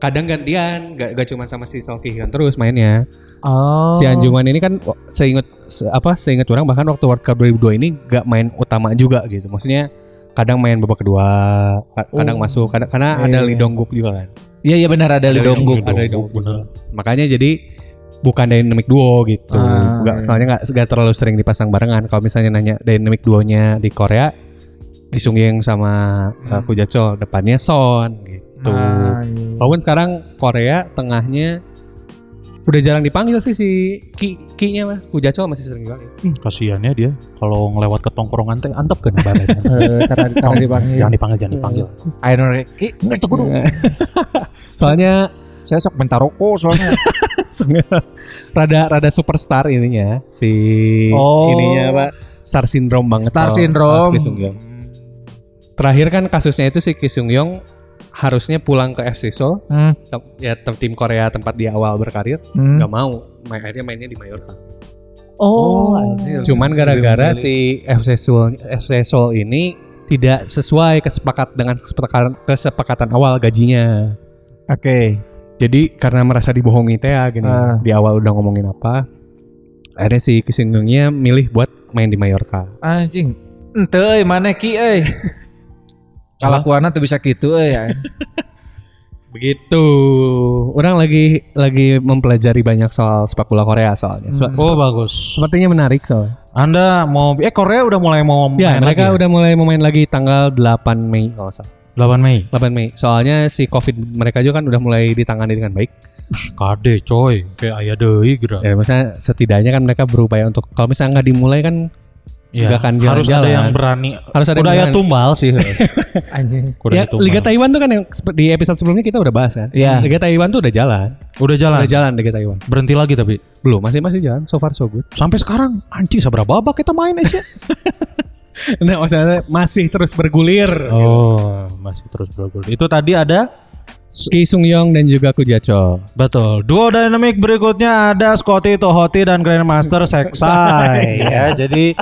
kadang gantian, gak, gak cuma sama si Sol Ki-hyun terus mainnya.
Oh.
Si Anjungwan ini kan w- seingat se- apa seingat orang bahkan waktu World Cup 2002 ini gak main utama juga gitu. Maksudnya kadang main babak kedua, ka- kadang
Oh.
masuk, kadang, karena
Iya,
ada
iya.
Lee Dong-guk juga kan.
Iya iya benar ada Lee Dong Guk.
Ada
Dong-guk,
Lee Dong-guk juga.
bener.
Makanya jadi bukan dynamic duo gitu.
Ah,
Nggak-
iya.
soalnya gak, terlalu sering dipasang barengan. Kalau misalnya nanya dynamic duonya di Korea, di Sung Yeng sama uh, Kujacol, depannya Son gitu.
Hmm. Ah, iya.
Walaupun sekarang Korea tengahnya udah jarang dipanggil sih si Ki Ki-nya mah. Kujacol masih sering dipanggil.
Hmm. Kasiannya ya dia kalau ngelewat ke tongkrongan teh antep kan badannya.
Eh, karena karena dipanggil. Iya.
jangan dipanggil, jangan dipanggil.
Ayo Nore, Ki, nggak setuju.
soalnya
Saya sok minta rokok soalnya.
sebenarnya rada rada superstar ininya si
Oh.
ininya Pak star syndrome banget
Star
kalau-
syndrome.
kalau Ki Sung Yong. Terakhir kan kasusnya itu si Ki Sung Yong harusnya pulang ke FC Seoul
Hmm.
tem- ya tem- tim Korea tempat dia awal berkarir
Hmm.
nggak mau main akhirnya mainnya di Mallorca.
Oh.
Cuman gara-gara si FC Seoul FC Seoul ini tidak sesuai kesepakat dengan kesepakatan kesepakatan awal gajinya.
Oke.
Jadi karena merasa dibohongi teh ya, gini
Ah.
di awal udah ngomongin apa, akhirnya si Kisinggungnya milih buat main di Mallorca.
Anjing. Ente euy mana Ki euy. Kalakuanna tuh bisa gitu euy. ya.
Begitu. Orang lagi lagi mempelajari banyak soal sepak bola Korea soalnya. So-
Oh bagus.
Sepertinya menarik soal.
Anda mau eh Korea udah mulai mau
Ya,
main
mereka
lagi
udah mulai mau main lagi tanggal 8 Mei kalau nggak salah.
ya? 8 Mei.
8 Mei. Soalnya si Covid mereka juga kan udah mulai ditangani dengan baik.
Kade coy, kayak aya deui geura.
Ya, maksudnya setidaknya kan mereka berupaya untuk kalau misalnya nggak dimulai kan
Ya,
Nggak akan
harus ada
jalan-jalan.
yang berani.
harus ada
udah
yang
aya
berani.
tumbal sih.
Anjing.
Udah
ya, Liga Taiwan tuh kan yang sep- di episode sebelumnya kita udah bahas kan.
Iya.
Liga Taiwan tuh udah jalan.
udah jalan.
Udah jalan Liga Taiwan.
Berhenti lagi tapi eh.
Belum, masih masih jalan. So far so good.
sampai sekarang anjing seberapa babak kita main aja.
Nah, maksudnya masih terus bergulir.
oh, masih terus bergulir. Itu tadi ada
Ki Sung Yong dan juga Kujaco.
Betul. Duo dynamic berikutnya ada Scotty Tohoti dan Grandmaster Seksai.
Iya.
ya, jadi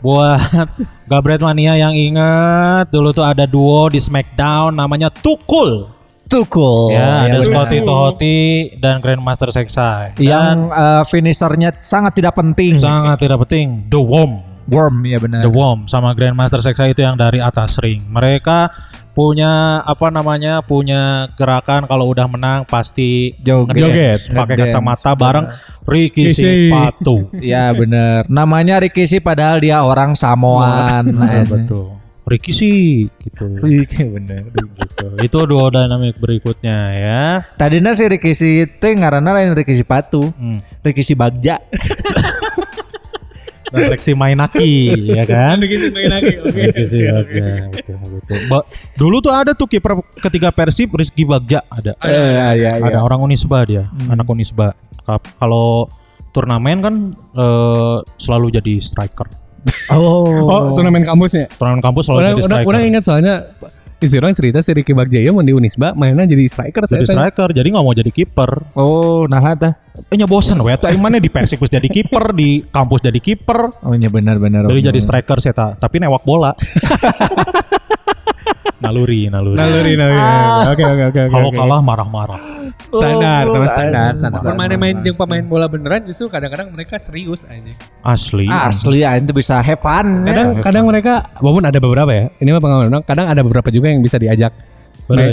buat Gabret Mania yang ingat dulu tuh ada duo di SmackDown namanya Tukul.
Oh,
Tukul. Iya,
ya, ada
iya.
yang benar.
Scotty Tohoti dan Grandmaster Seksai.
yang eh, finishernya sangat tidak penting.
Sangat tidak penting. Hmm. The Worm.
Worm ya benar.
The Worm sama Grandmaster Seksa itu yang dari atas ring. Mereka punya apa namanya? Punya gerakan kalau udah menang pasti
Joget.
ngejoget pakai
Ngedance.
kacamata bareng Ricky
Ricky.
Patu.
Ya benar. Namanya Rikishi padahal dia orang Samoan.
Nah, betul. Ricky sih gitu.
iya, bener.
Gitu. itu duo dynamic berikutnya ya.
Tadinya si Rikishi itu ngarana lain Rikishi Patu.
Hmm.
Rikishi Bagja.
Refleksi Mainaki ya kan?
Gitu main lagi. Oke.
Ricky sih, Bagja, betul, betul. Ba- Dulu tuh ada tuh kiper ketiga Persib Rizky Bagja ada.
Iya iya
Ada orang Unisba dia,
Hmm.
anak Unisba. Ka- Kalau turnamen kan eh, selalu jadi striker.
Oh.
Oh, turnamen kampusnya.
Turnamen kampus selalu
Orang
Oh, jadi
orang
striker.
orang ingat soalnya istri orang cerita si Ricky Bagjaya mau di Unisba mainnya jadi striker
jadi
saya tanya.
striker, jadi nggak mau jadi kiper.
Oh, nah tah.
Eh nya bosen we tah mana di Persib geus jadi kiper, di kampus jadi kiper,
Oh iya benar benar.
dari jadi striker saya tah. tapi newak bola. naluri, naluri.
Naluri naluri. Oke oke oke. oke,
Kalau
oke.
kalah marah-marah.
standar,
Oh,
karena standar.
standar.
Permainan-main yang pemain bola beneran justru kadang-kadang mereka serius aja.
Asli.
Ah, Asli aing tuh bisa have fun. ya.
Kadang kadang mereka walaupun ada beberapa ya. Ini mah pengalaman orang, kadang ada beberapa juga yang bisa diajak main,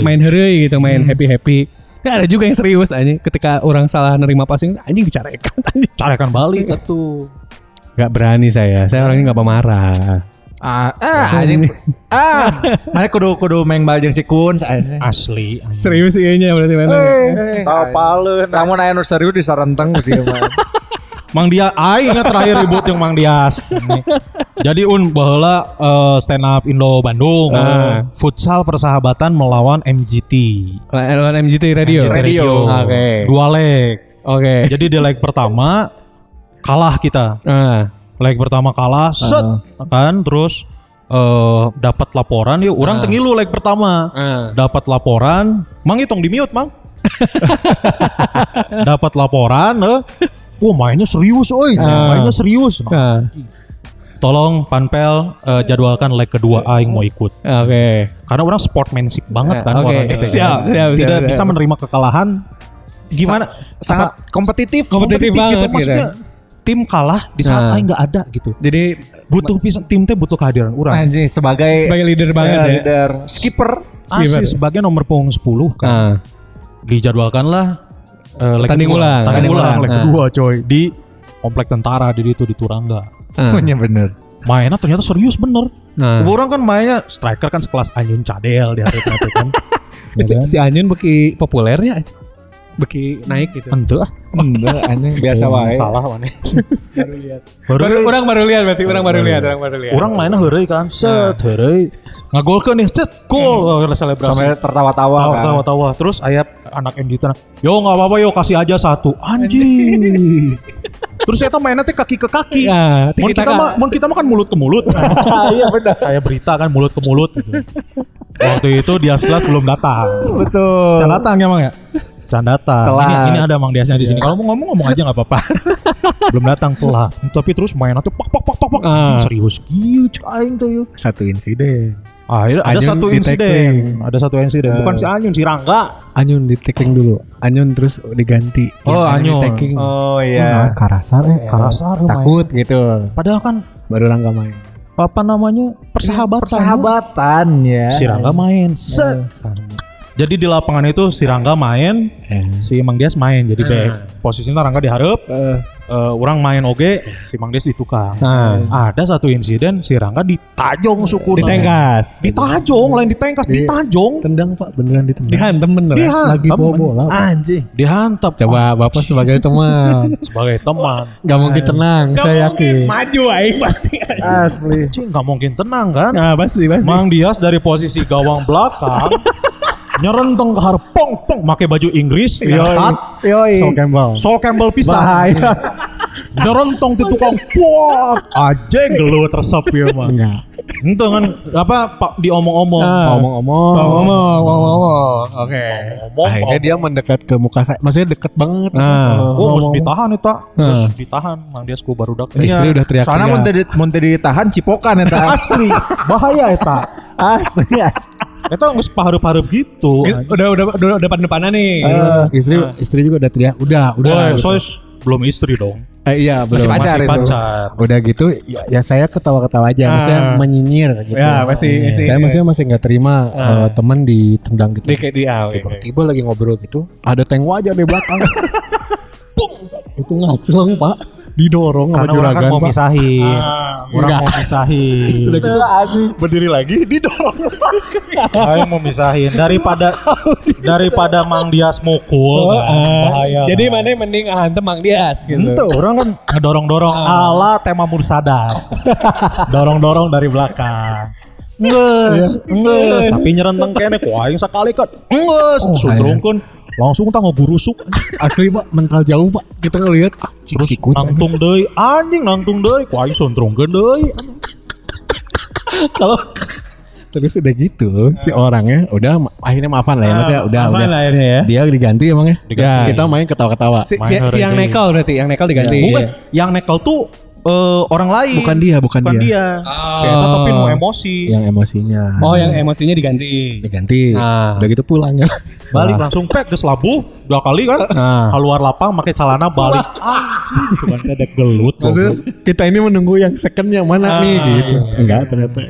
Berai.
main heureuy gitu, main happy-happy. Ya, ada juga yang serius anjing ketika orang salah nerima passing anjing dicarekan anjing.
Carikan balik atuh.
Gak berani saya. Saya orangnya gak pemarah.
Ah, ah, anjing. ah, mana kudu kudu main bal jeung cikun anjing.
Asli.
Serius ieunya berarti main.
Eh, Tapaleun. Lamun aya nu serius disarenteng geus ieu mah.
Mang Dia aing ingat terakhir ribut yang Mang Dias. Ini. Jadi un baheula eh, stand up Indo Bandung eh,
Ah.
futsal persahabatan melawan MGT.
Lawan MGT Iya. Radio.
MGT
Radio.
Oke.
Dua leg.
Oke.
Jadi di leg pertama kalah kita.
Ah.
Leg pertama kalah, set kan terus eh dapat laporan yuk orang tengilu leg pertama.
Ah.
Dapat laporan, Mang hitung di mute, Mang. dapat laporan, eh. Wah mainnya serius, oi. Mainnya serius. Nah,
Ah.
tolong panpel eh, jadwalkan leg kedua aing mau ikut
Oke.
karena orang sportmanship banget
Eh,
kan
oke.
orangnya.
Siap, siap,
tidak
siap,
bisa
siap.
menerima kekalahan gimana gitu,
Sangat kompetitif.
Kompetitif banget gitu.
maksudnya tim kalah di saat
Nah.
aing nggak ada gitu
Jadi
butuh pisan tim teh butuh kehadiran orang
Anjing sebagai
Sebagai leader
sebagai
banget ya.
leader. Skipper.
asli sebagai Ah, nomor punggung 10 kan
ah.
dijadwalkanlah eh, leg
Tanding
kedua.
ulang.
tanding
Tanding
ulang
ulang.
leg
Nah.
kedua coy di komplek tentara di itu di Turangga
Ah.
Punya bener.
mainnya ternyata serius bener
Nah.
orang kan mainnya striker kan sekelas Anyun Cadel di hari itu kan Ya
Si,
kan?
si Anyun beki populernya aja. Beki naik gitu.
Ente ah. Oh,
Enggak anjing biasa wae.
Salah mana? baru lihat.
Baru, orang baru lihat berarti orang baru lihat, orang baru lihat.
Orang mainnya heureuy kan. Set heureuy. Ngagolkeun nih, cet gol Wah,
Sampai
selebrasi.
tertawa-tawa kan.
Tawa-tawa terus ayat anak MG itu yo nggak apa-apa yo kasih aja satu anjing terus saya mainnya teh kaki ke kaki
Ya,
Mun
tiki-taka.
kita mah mun kita mah kan mulut ke mulut iya benar kayak berita kan mulut ke mulut gitu. waktu itu dia kelas belum datang
Betul.
Can datang emang ya? Can datang.
Telat.
Ini, ini ada Mang Diasnya di sini. Kalau mau ngomong ngomong aja nggak apa-apa. Belum datang telat. Tapi terus mainan tuh pak pak pak pak pak.
Ah.
Anjing, Serius gitu cek aing tuh yuk.
Satu insiden.
Akhirnya ada
Anyun
satu
di
insiden.
tackling.
Ada satu insiden. Bukan si Anyun si Rangga.
Anyun di taking dulu. Anyun terus diganti. Yang Anyun
Oh, Anyun.
di taking. Nah,
Oh iya.
Karasar eh
Karasar lumayan.
takut gitu.
Padahal kan
Baru langkah main.
apa namanya persahabatan.
Persahabatan ya.
Si Rangga main. Set. Jadi di lapangan itu si Rangga main, si Mang Dias main jadi back. Posisinya Rangga diharap, eh, orang main oge, si Mang Dias ditukar. Ada satu insiden si Rangga ditajong syukur.
ditengkas.
Ditajong, lain ditengkas, ditajong.
Tendang Pak, beneran ditendang.
Dihantam bener.
Lagi
Dihantam.
bawa bola. Pak.
Anjing.
Dihantam. Ah.
Coba Bapak sebagai teman.
sebagai teman.
Gak mungkin tenang, saya yakin.
Maju aing pasti.
asli.
Cing nggak mungkin tenang kan?
Nah, pasti pasti.
Mang Dias dari posisi gawang belakang nyerenteng ke harap pong pong pakai baju Inggris
Iya,
ya kan?
Yoi.
Sol Campbell.
Sol Campbell pisah.
Bahaya.
Jerontong di tukang puat aja gelut resep ya mah.
Enggak.
Itu kan apa pak diomong-omong.
Ah. Omong-omong.
Ngomong, ngomong. Oke.
Omong.
Akhirnya dia mendekat ke muka saya. Ah. Maksudnya deket banget.
Nah.
Oh, harus ditahan itu, harus ditahan. Mang Dias ku baru Iya. dak.
Ah. Istri udah teriak.
Soalnya
ya.
mun teu di- mun teu ditahan cipokan eta.
Asli, bahaya eta.
Asli.
Gak tau nggak paharup-paharup gitu.
Udah udah udah depan-depanan nih.
Ah,
istri istri juga udah teriak udah udah
Wah,
gitu.
sois belum istri dong.
Eh, iya belum
Masih
pacar. itu.
pacar.
udah gitu ya, ya saya ketawa-ketawa aja maksudnya
Ah.
menyinyir gitu
Ya, masih masih
saya maksudnya masih nggak terima eh, teman ditendang gitu
di di, di ah, oke, oke.
tiba-tiba lagi ngobrol gitu ada tank wajah di belakang Pung! itu ngacleng pak didorong sama
Karena orang kan
juragan
mau
pak
misahin. Orang
Enggak.
mau misahin.
Sudah gitu, berdiri lagi didorong
Ayo mau misahin daripada daripada Mang Dias mukul kan, bahaya.
Jadi mana yang mending antem Mang Dias gitu.
Tuh, orang kan Ah. ngedorong-dorong ala tema Mursadat. Dorong-dorong dari belakang. Nges, nges, tapi nyerenteng kene ku aing sekali kan. Nges,
Oh,
sudrungkeun langsung tanggo gurusuk
asli pak mental jauh pak kita ngelihat ah, cik,
terus
sikut,
nangtung deui anjing nangtung deui ku aing sundrungkeun deui
kalau terus udah gitu si orangnya udah ma- akhirnya maafan
Ah,
lah ya maksudnya udah
Apaan
udah
lah ini ya?
dia diganti emang ya
Diganti.
kita main ketawa-ketawa
Si, si,
Minor
si yang
ini.
nekel berarti, yang nekel diganti.
bukan yang nekel tuh eh, orang lain
bukan dia bukan,
Iya. bukan
dia.
dia, Si Eta tapi nu emosi
Iya.
yang emosinya
Oh, yang emosinya diganti.
diganti
Ah.
udah gitu pulang ya
balik langsung pet ke labuh dua kali kan
Nah.
keluar lapang pakai celana balik anjing cuman dedek gelut
Maksudnya kita ini menunggu yang second yang mana nih gitu. Enggak ternyata.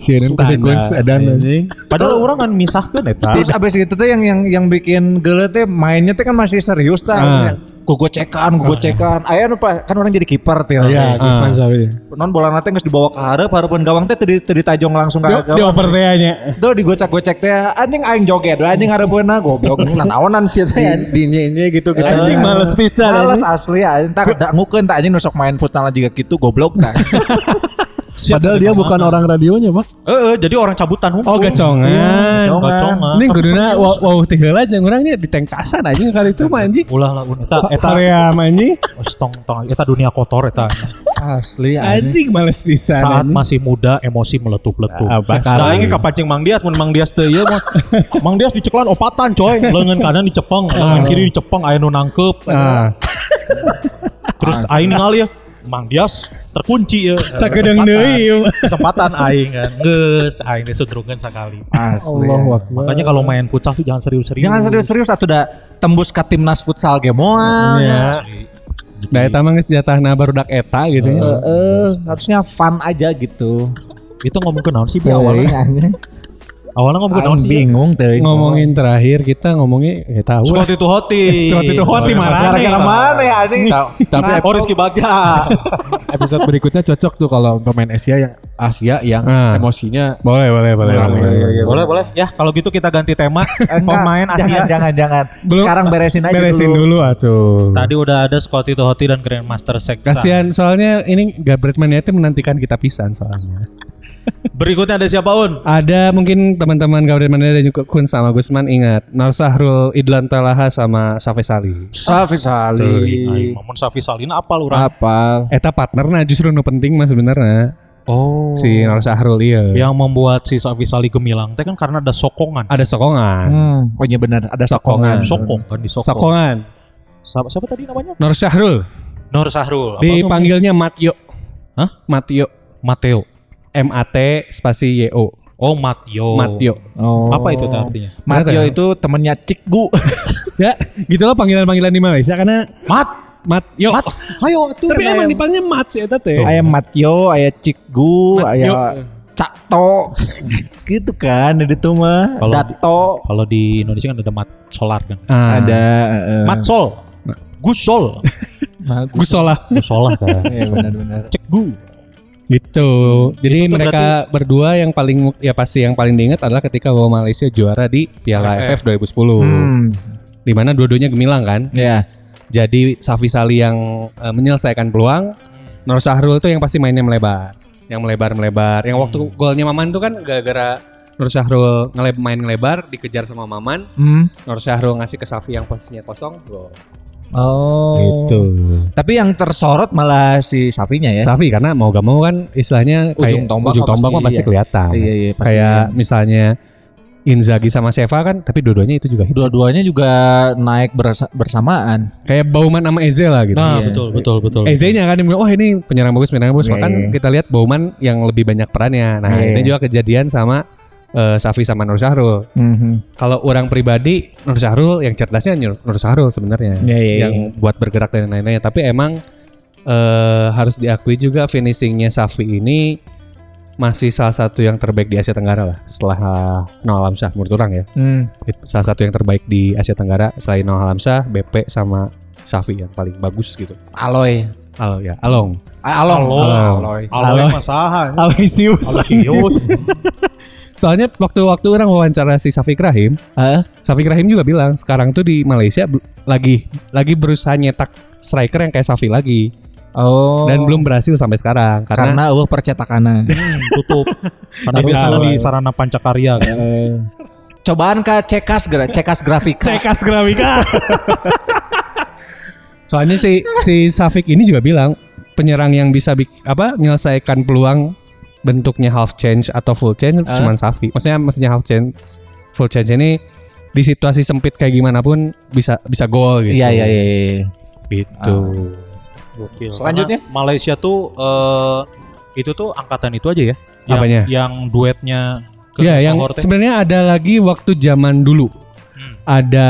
Siaran konsekuensi ada anjing.
padahal orang kan misahkan eta
Terus abis itu tuh yang yang yang bikin gele teh mainnya teh kan masih serius
Ah.
tah. Gogocekan, gogocekan. Aya nu pa- kan orang jadi kiper teh.
Iya, Gusman Sawi.
Non bola nate geus dibawa ke hareup, hareupeun gawang teh teu di- teu ditajong langsung ka gawang.
oper teh nya.
Tuh digocek-gocek teh anjing aing joget, anjing hareupeunna goblok. Nanaonan sih teh.
Di ini gitu gitu.
Anjing males pisan.
Males asli anjing tak dak ngukeun tah anjing nu sok main futsal juga gitu goblok tah.
Padahal dia bukan orang radionya, Pak.
eh eh, jadi orang cabutan hukum Iya,
Oh, gacongan.
Gacongan. Gacongan.
Ini kuduna wow, wow teh heula jeung urang nya ditengkasan anjing kali itu mah anjing.
ulah lah eta eta
Area mah anjing.
Stong, tong, eta dunia kotor eta
Asli
Anjing males pisan.
saat
anjing.
masih muda emosi meletup-letup
Ah, bakal.
nah ini kapancing Mang Dias mun Mang Dias teh ieu mah Mang Dias diceklan opatan coy lengan kanan
Ah.
dicepeng lengan kiri dicepeng aya nu nangkep terus
Ah.
aing ningali ya Mang Dias terkunci ya
Sakedeung deui. ieu.
kesempatan aing kan geus aing teh sudrungan sekali
Ah. Oh.
Asli.
makanya kalau main futsal tuh jangan serius-serius
Jangan serius-serius atuh da tembus ke timnas futsal ge moal.
Iya. Da eta mah geus jatahna barudak eta gitu ya.
Eh, harusnya fun aja gitu. Ya
itu ngomong ke naon sih Bi, awalnya
Awalnya
awalnya ngomong ke naon sih
bingung teh.
Ngomongin terakhir kita ngomongin ya tahu. lah.
Scott itu hoti
Scott itu hoti,
iya,
marah.
Gara-gara mana ya anjing?
Tapi
Oh Rizky Bagja
Ah.
episode berikutnya cocok tuh kalau pemain Asia yang Asia yang Iya,
Ah.
emosinya
Boleh, boleh, boleh.
boleh boleh ya kalau gitu kita ganti tema
Enggak,
pemain Asia
Jangan, jangan, jangan.
Belum-
Sekarang beresin aja
Beresin dulu
dulu.
atuh.
tadi udah ada Scott itu hoti dan Grandmaster Seksa
Kasihan soalnya ini Gabriel Maniati menantikan kita pisan soalnya.
berikutnya ada siapa Un
Ada mungkin teman-teman Gabriel Maniati dan juga Kun sama Gusman ingat Narsahrul Idlan Talaha sama Safe Sali.
Aing
Safi Sali.
Mamun Safi Salina apa lu
Apa?
Eta partnerna justru nu penting mah sebenarnya
Oh
si Narsahrul iya.
yang membuat si Safi Sali gemilang teh kan karena ada sokongan
Ada sokongan.
Oh iya benar, ada
Sokongan.
sokongan.
sokong kan di sokong,
Hmm, Sokongan.
Siapa, siapa tadi namanya
Nur Syahrul
Nur Sahrul apa tuh?
dipanggilnya Matio.
Hah?
Matio.
Mateo
M A T spasi Y O.
oh Mateo
Matio.
Oh.
apa itu teh artinya
Matio itu temennya Cikgu.
Ya, gitu loh panggilan-panggilan di Malaysia karena
Mat
Matio.
Mat ayo atuh
Tapi emang
ayam.
dipanggilnya Mat sih ya? eta teh.
Ayah Matio, ayah Cikgu,
Matio.
ayah Cakto. gitu kan, ada tuh mah.
Kalau di-
Dato.
kalau di Indonesia kan ada Mat Solar kan
Ah.
Ada. eh,
Mat Sol Gusol
Gusola.
Gusola kan
Iya benar-benar.
cek gu
Gitu. Jadi
Itu tuh
mereka berdua yang paling ya pasti yang paling diingat adalah ketika bahwa Malaysia juara di Piala AFF 2010.
Hmm.
Di mana dua-duanya gemilang kan.
Ya.
Jadi Safi Sali yang eh, menyelesaikan peluang,
Hmm.
Nur Sahrul itu yang pasti mainnya melebar. Yang melebar-melebar. Yang waktu
Hmm.
golnya Maman tuh kan gara-gara Nur Sahrul ngeleb main ngelebar dikejar sama Maman.
Hmm.
Nur Sahrul ngasih ke Safi yang posisinya kosong. Gol.
Oh. Tapi yang tersorot malah si Safinya ya.
Safi karena mau gak mau kan istilahnya kayak
Ujung tombak
ujung
mah
tombak mah
pasti,
pasti
iya.
kelihatan.
Iya, iya, pasti.
kayak misalnya Inzaghi sama Sheva kan tapi dua-duanya itu juga hits.
Dua-duanya juga naik bersa- bersamaan.
Kayak Bauman sama Eze lah gitu.
nah betul betul betul
Eze-nya kan yang bilang, wah ini penyerang bagus, penyerang bagus.
Iya,
Bahkan
iya.
kita lihat Bauman yang lebih banyak perannya. Nah
Iya,
ini
iya.
juga kejadian sama eh, Safi sama Nur Syahrul.
Mhm.
Kalau orang pribadi Nur Syahrul yang cerdasnya Nur Nur Syahrul sebenarnya
Iya, iya,
yang buat bergerak dan lain-lainnya. Tapi emang eh, harus diakui juga finishingnya Safi ini masih salah satu yang terbaik di Asia Tenggara lah setelah Noah Lamsah menurut orang ya.
Hmm.
Itu salah satu yang terbaik di Asia Tenggara selain Noah Lamsah, BP sama Safi yang paling bagus gitu.
Aloy.
Halo ya, Along.
Along.
Oh,
Aloy.
Aloy masahan.
Aloysius.
Aloysius.
Soalnya waktu-waktu orang wawancara si Safi Rahim, Safi Rahim juga bilang sekarang tuh di Malaysia bel- lagi lagi berusaha nyetak striker yang kayak Safi lagi
Oh.
dan belum berhasil sampai sekarang karena,
karena eueuh percetakanana.
hmm, tutup. Karena
Tapi
biasanya
kalau-
di sarana pancakarya kan.
Eh.
Cobaan ke cekas gra- cekas grafik.
Cekas grafika.
soalnya si si Safik ini juga bilang penyerang yang bisa bik, apa menyelesaikan peluang bentuknya half change atau full change
Ah.
cuman Safi. Maksudnya maksudnya half change full change ini di situasi sempit kayak gimana pun bisa bisa gol gitu.
Iya iya iya. iya.
Gitu.
Selanjutnya.
Karena Malaysia tuh eh, itu tuh angkatan itu aja ya. Yang,
Apanya?
Yang duetnya
Ya, yang
Johor teh.
sebenarnya ada lagi waktu zaman dulu. Ada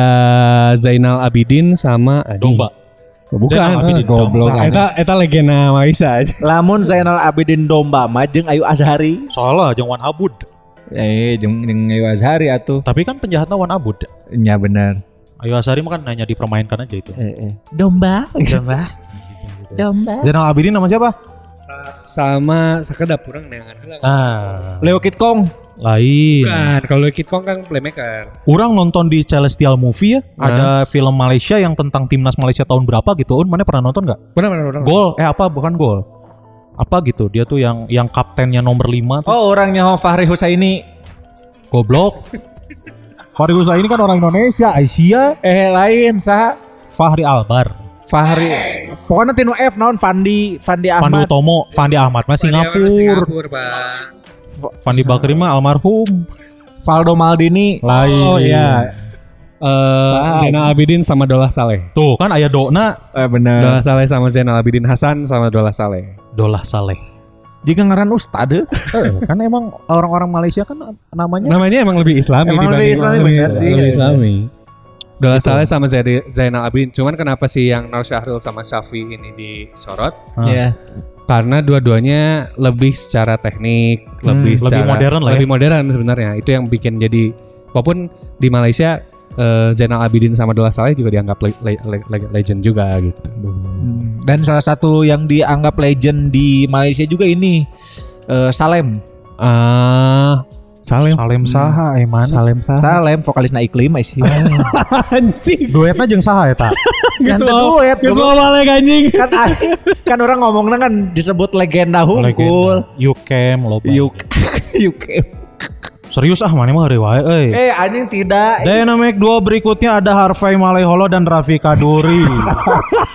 Zainal Abidin sama aduh.
domba. Zainal Abidin,
eh,
goblok
domba. Eta eta legenda Malaysia aja.
Lamun Zainal Abidin Domba majeng Ayu Azhari.
Salah, jeung Wan Abud.
Eh jeung jeung Ayu Azhari atuh.
Tapi kan penjahatnya Wan Abud.
Iya,
Nya bener.
Ayu Asari mah kan hanya dipermainkan aja itu.
Eh.
Domba. Domba.
Zainal Abidin nama siapa?
Sama sekedap kurang neangan heula.
Nah,
Leo Kit Kong.
lain.
Bukan, kalau Kit Kong kan playmaker.
Orang nonton di Celestial Movie ya, ada film Malaysia yang tentang timnas Malaysia tahun berapa gitu. Un, mana pernah nonton nggak?
Benar benar benar.
Gol, eh apa bukan gol. Apa gitu, dia tuh yang yang kaptennya nomor 5
Oh orangnya Ho Fahri Husaini.
goblok. Fahri Husa ini kan orang Indonesia, Asia,
Eh lain sah.
Fahri Albar,
Fahri. Pokoknya tinu F naon Fandi Fandi
Pandu
Ahmad.
Tomo, Fandi Ahmad, mah Singapura,
Singapura, Pak.
Fandi Bakri mah almarhum.
Valdo Maldini.
Lain.
Oh iya. Eh, Zainal Abidin sama Dolah Saleh.
Tuh kan ayah Dona,
Eh bener.
Dolah Saleh sama Zainal Abidin Hasan sama Dolah Saleh.
Dolah Saleh.
Jika ngaran Ustad.
kan emang orang-orang Malaysia kan namanya
Namanya emang lebih Islami
Emang
dibanding-
lebih Islami, benar sih.
Lebih Islami. Dola
Gitu.
Saleh sama Zaid- Zainal Abidin. Cuman kenapa sih yang Nur Syahrul sama Syafi ini disorot?
Ah.
Iya.
Karena dua-duanya lebih secara teknik, lebih
Hmm, lebih
secara-
modern lah ya.
Lebih modern sebenarnya. Itu yang bikin jadi walaupun di Malaysia eh, Zainal Abidin sama Dola Saleh juga dianggap le- le- le- le- legend juga gitu.
Hmm. Dan salah satu yang dianggap legend di Malaysia juga ini eh, Salem.
Ah, Salem.
Salem Saha emang. Salem Saha.
Salem vokalis eh, na Iklim sih.
Duetnya jeung Saha ya, eta.
Geus Kan duet.
balik anjing.
Kan kan orang ngomongnya kan disebut legenda hunkul.
You came loba.
Yuk. Yuk.
Serius ah mana mah hari wae euy.
Eh anjing tidak.
Dynamic duo berikutnya ada Harvey Maleholo dan Rafika Duri.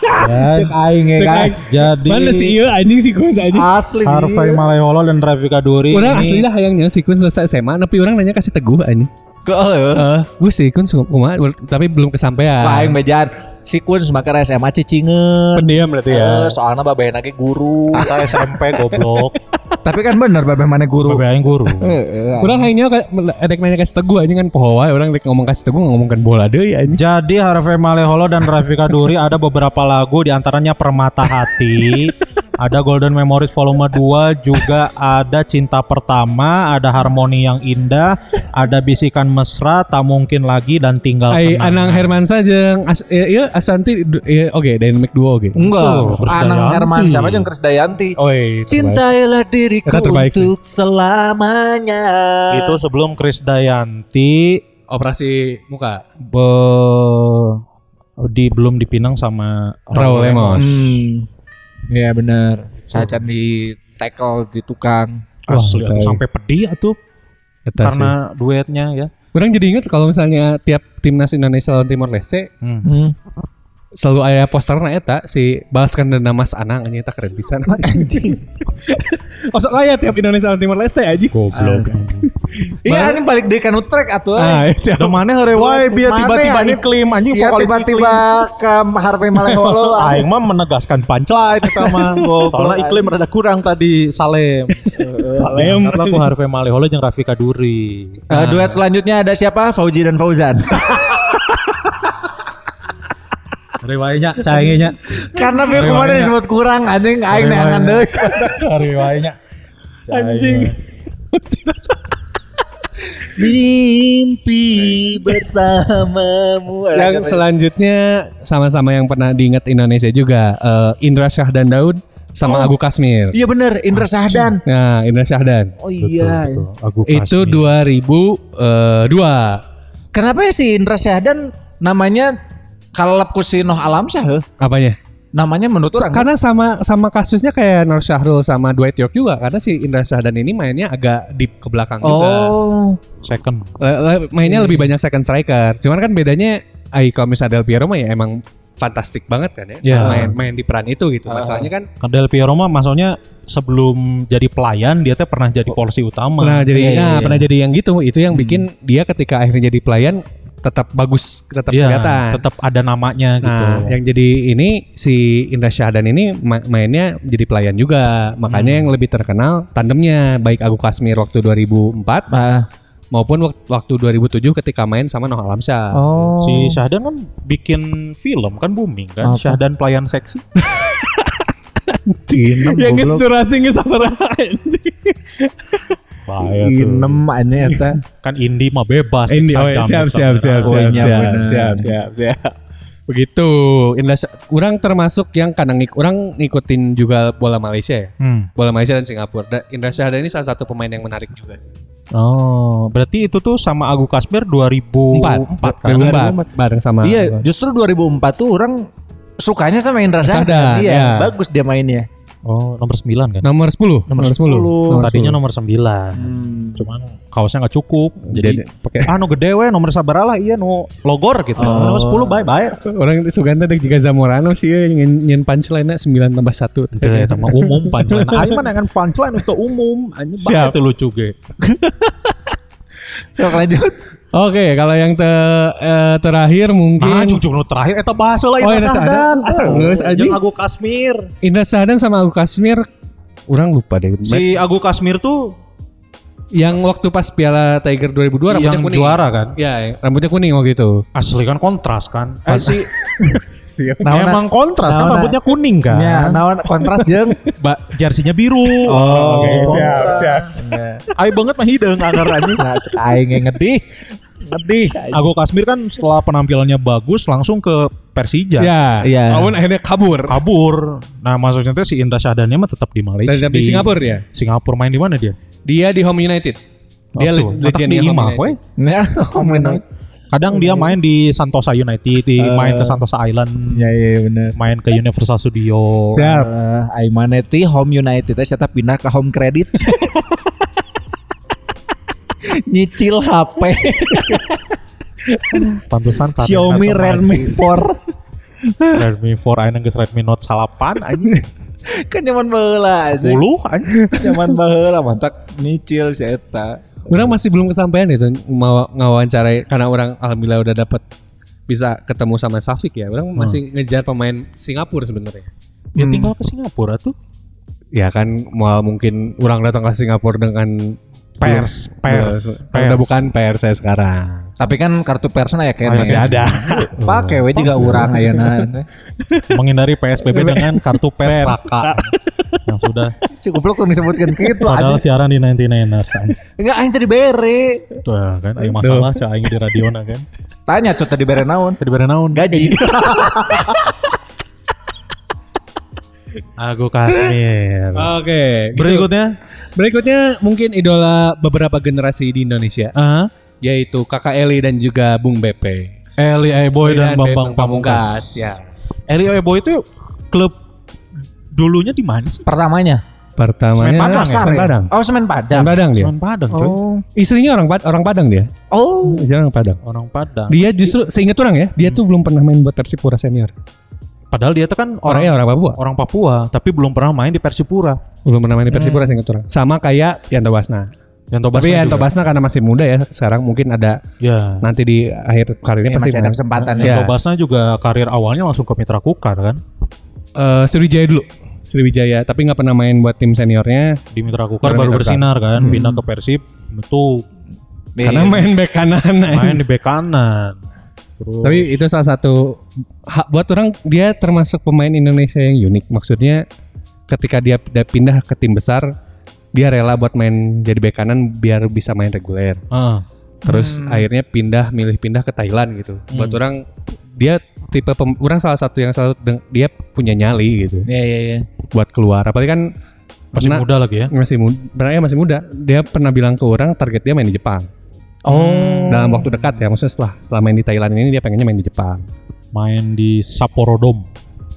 Dan
Cek aing ya kan.
jadi
Mana sih iya anjing sih gue anjing.
Asli.
Harvey Maleholo dan Rafika Duri
Orang
ini
aslinya hayangnya si Kun selesai SMA, tapi orang nanya kasih teguh aja.
Ke
Eh, gue si Kun suka kumaha, tapi belum kesampaian.
aing mejaan. Si Kun semakar SMA cicingeun.
Pendiam berarti
Eh, soalnya babeh lagi guru.
kita SMP goblok.
Tapi kan bener babeh mana guru. Eh.
Babe aing guru.
Orang hayangnya ka- adek nanya kasih teguh aja kan pohoa, orang dek ngomong kasih teguh ngomongkan bola deh ya anjing.
Jadi Harvey Maleholo dan Rafika Duri ada beberapa lagu diantaranya Permata Hati, ada Golden Memories Volume 2, juga ada Cinta Pertama, ada Harmoni Yang Indah, ada Bisikan Mesra, Tak Mungkin Lagi dan Tinggal
Ai
Kenangan.
Anang Hermansyah jeung As iya, iya Ashanti du- iya, oke dynamic duo oke.
Enggak,
Chris
Anang
Dayanti.
Herman siapa aja yang Chris Dayanti.
Oi,
Cintailah diriku
Itu terbaik sih.
untuk selamanya.
Itu sebelum Krisdayanti
operasi muka.
be- di belum dipinang sama
Raul Lemos. Hmm.
Iya benar. Sajan di tackle di tukang.
Asli
Wah,
atuh, sampai pedih tuh
Eta sih.
karena duetnya ya.
orang jadi inget kalau misalnya tiap timnas Indonesia lawan Timor Leste, selalu ada posterna eta si balaskan dendam Mas Anang anjing eta keren pisan. Anjing. Masuk aya tiap Indonesia lawan Timor Leste anjing.
Goblok.
Iya ini balik dari kanu trek atuh.
Ah, siapa mana herewai biar
Mana
tiba-tiba
anjing?
diklaim anjing
Sia
vokalis
tiba-tiba ke Harvey Maleholo.
Aing mah menegaskan punchline eta mah Goblok. Soalnya iklim rada kurang tadi Salem. Salem. Karena aku Harvey Maleholo jeung Rafika Duri.
Eh, duet selanjutnya ada siapa? Fauji dan Fauzan.
Rewainya caenge nya.
Karena dia kemarin disebut kurang anjing aing neangan deui.
Rewainya. Anjing.
Mimpi bersamamu.
Yang selanjutnya sama-sama yang pernah diingat Indonesia juga eh, Indra Syahdan Daud sama Agung Kasmir.
Iya bener Indra Sahdan.
Nah, Indra Syahdan.
Oh iya.
Aku
Itu eh, 2002.
Kenapa ya si Indra Sahdan namanya kalapku si Noh Alamsyah heuh?
Apanya?
Namanya menurut orang.
Karena sama sama kasusnya kayak Nur Syahrul sama Dwight York juga karena si Indra Syahdan ini mainnya agak deep ke belakang juga.
Oh.
second.
Le- le- Eh, mainnya lebih banyak second striker. Cuman kan bedanya Ai kalau misalnya Del Piero mah ya emang fantastik banget kan ya.
Ya.
Main main di peran itu gitu. Masalahnya kan
Del Piero mah maksudnya sebelum jadi pelayan dia teh pernah jadi polisi utama.
pernah jadi
Iya, iya,
nah,
iya.
pernah jadi yang gitu. Itu yang bikin dia ketika akhirnya jadi pelayan tetap bagus, tetap
Iya,
kelihatan.
tetap ada namanya gitu.
Nah, yang jadi ini si Indra Syahdan ini ma- mainnya jadi pelayan juga. Makanya yang lebih terkenal tandemnya baik Agung Kasmir waktu 2004
Ah.
maupun wak- waktu 2007 ketika main sama Noh Alamsyah.
Oh.
Si Syahdan kan bikin film kan booming kan.
Apa?
Syahdan pelayan seksi.
yang geus durasi geus sabaraha.
Bahaya tuh.
Inem anjing eta.
Kan indie mah bebas.
Ini
sajam,
oh, siap, siap, siap, siap,
Oh,
siap,
iya,
siap,
bener.
siap, siap, siap. Begitu. Indra Sy- orang termasuk yang kadang ngik, orang ngikutin juga bola Malaysia ya.
Hmm.
Bola Malaysia dan Singapura. Da- Indra Syahdan ini salah satu pemain yang menarik juga sih.
Oh, berarti itu tuh sama Agung Kasmir 2004 kan?
2004 bareng sama
Iya, justru 2004 tuh orang sukanya sama Indra Sahdan.
Syahdan, ya.
Iya, bagus dia mainnya.
Oh, nomor 9 kan?
Nomor 10. Nomor 10. Nomor Hmm.
Tadinya nomor 9. Cuman kaosnya nggak cukup. Jadi pakai ah nu gede we nomor sabaralah iya nu logor
Oh.
gitu. Nomor 10 bye-bye.
10. Orang itu Suganda dek juga Zamorano sih ya, nyen, nyen punchline 9 tambah 1.
Itu eta mah umum punchline. Aing mah dengan punchline untuk umum. Anjing bahasa
Siap.
teu lucu ge.
Sok lanjut.
Oke, kalau yang te, eh, terakhir
Nah,
mungkin
jujur nu terakhir eta bahasa lah
Oh,
Indra
Indra
Sahdan.
Sahdan. Asa geus, anjing.
Jeung Agung Kasmir.
Indra Sahdan sama Agung Kasmir orang lupa deh.
Si Agung Kasmir tuh
yang waktu pas Piala Tiger 2002 rambutnya
Yang
kuning.
juara kan?
Iya, yang rambutnya kuning waktu itu.
asli kan kontras kan. Eh, si
Siap. Nah,
Naon,
emang kontras kan
naon,
rambutnya kuning kan.
Ya, naon kontras jeung
Ba, jersinya biru. Oh, siap, siap. Ayo banget mah hideung anger anjing.
Nah, cek aing yang ngedih. Ngedih.
Agung Kasmir kan setelah penampilannya bagus langsung ke Persija.
Iya.
Iya.
Lawan akhirnya kabur.
Kabur. Nah, maksudnya tuh si Indra Syahdannya mah tetap di Malaysia.
Dari di Singapura
iya.
ya.
Singapura main di mana dia?
Dia di Home United. Dia
Oh, tuh.
le-
Tetap di
legendnya
Imah,
Home
we.
United.
Ya, ngomongin.
Kadang dia main di Santosa United, di- main ke Santosa Island,
Eh. Ya, ya, bener.
main ke Universal Studio.
Siap. aing mana ti Oh, eh, Home United teh saya pindah ke Home Credit. Nyicil HP
Pantesan karena
Xiaomi
karena
Redmi 4
Redmi 4 ayeuna geus Redmi Note salapan anjing.
kan zaman baheula aja.
Puluh anjing.
Zaman baheula mantak nyicil si eta.
Orang masih belum kesampaian itu mau ngawancarai karena orang alhamdulillah udah dapat bisa ketemu sama Safik ya. Orang masih ngejar pemain Singapura sebenarnya.
Dia
Hmm.
tinggal ke Singapura tuh.
Ya kan mau mungkin orang datang ke Singapura dengan Iya,
Pers, pers, pers.
Udah bukan pers saya sekarang.
Tapi kan kartu persona ya kayaknya
Masih ada.
Pakai we juga urang
nah.
ayeuna.
Menghindari PSBB dengan kartu pers kakak. yang sudah
Si goblok lu disebutkan
gitu,
kitu
padahal
anjing.
siaran di 99ers anjing.
Enggak aing tadi bere.
Tuh kan aing masalah cah aing di radiona kan.
Tanya tuh tadi bere naon?
Tadi bare naon?
Gaji.
Ago Kasmir. gitu.
Oke. Berikut
Berikutnya,
berikutnya mungkin idola beberapa generasi di Indonesia
eh
yaitu Kakak Eli dan juga Bung Bepe.
Eli Boy dan
Bambang
Bambang Pamungkas.
ya.
Eli Boy itu klub dulunya di mana sih?
Pertamanya.
Pertamanya
Semen Padang
Makassar
Semen
ya?
Padang.
Oh semen
Semen
Padang.
Padang dia.
Orang Padang, coy.
Istrinya orang Pad- orang Padang dia.
Oh.
Istrinya orang Padang.
Orang Padang.
Dia justru seingat orang ya, dia tuh belum pernah main buat Persipura senior.
Padahal dia tuh kan orang
Orangnya orang Papua.
orang Papua, tapi belum pernah main di Persipura.
Belum pernah main di Persipura seingat orang. Sama kayak Yanto Basna.
Yanto
Tapi
Basna
Yanto
juga.
Basna karena masih muda ya, sekarang mungkin ada
Ya.
nanti di akhir karirnya
Ini
pasti
masih ada
main.
kesempatan
Ya.
ya.
Yanto Basna juga karir awalnya langsung ke Mitra Kukar kan.
Eh, Sriwijaya dulu. Sriwijaya, tapi nggak pernah main buat tim seniornya
Di Mitra Kukar
Baru
baru
Mitra Hmm.
bersinar kan, pindah ke Persib itu
karena main back kanan.
main di bek kanan. Terus
Tapi itu salah satu ha- buat orang dia termasuk pemain Indonesia yang unik. Maksudnya ketika dia pindah- pindah ke tim besar, dia rela buat main jadi bek kanan biar bisa main reguler.
ah,
Terus akhirnya pindah milih pindah ke Thailand gitu. Buat orang dia tipe pem- orang salah satu yang selalu deng- dia punya nyali gitu
Iya iya iya.
buat keluar. Apalagi kan
masih
pernah-
muda lagi ya.
masih muda, ya masih muda. Dia pernah bilang ke orang target dia main di Jepang. Oh. Dalam waktu dekat ya, maksudnya setelah setelah main di Thailand ini dia pengennya main di Jepang.
Main di Sapporo Dome.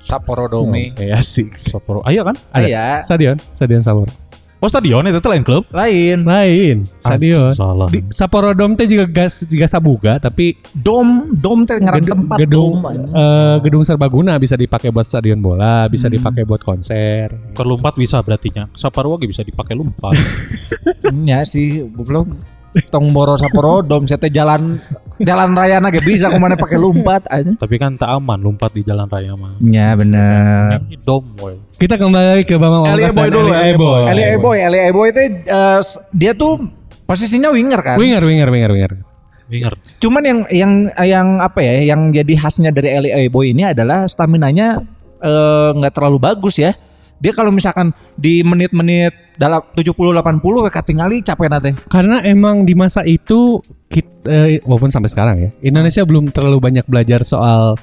Sapporo Dome.
Iya sih.
Sapporo. Ah, iya kan?
Ah, iya.
Stadion, Stadion Sapporo.
Oh stadion itu lain klub. Ah,
Lain.
Lain, stadion.
Salah.
Di Sapporo Dome teh juga gas juga sabuga tapi
Dom, dom teh ngaran
gedung
tempat
gedung,
dom.
ya?
eh, gedung serbaguna bisa dipakai buat stadion bola, bisa dipakai buat konser.
Ke Lumpat bisa berartinya. Saparwa ge bisa dipakai Lumpat.
Hmm, Ya sih, belum tong boro Sapporo dom saya teh jalan jalan raya nage bisa kemana pakai lompat aja.
Tapi kan tak aman Lumpat di jalan raya mah.
Ya bener.
Ini dom boy.
Kita kembali ke Bambang
Elie
Wangkas
Boy
dan
dulu,
Elie
Elie
Boy.
Ali Eboy, Ali Eboy teh eh, s- dia tuh posisinya winger kan.
Winger, winger, winger, winger.
Winger.
Cuman yang yang yang apa ya, yang jadi khasnya dari Ali Eboy ini adalah stamina-nya eh, nggak terlalu bagus ya. Dia kalau misalkan di menit-menit dalam 70 80 we katingali capek nanti.
Karena emang di masa itu kita, eh, walaupun sampai sekarang ya, Indonesia belum terlalu banyak belajar soal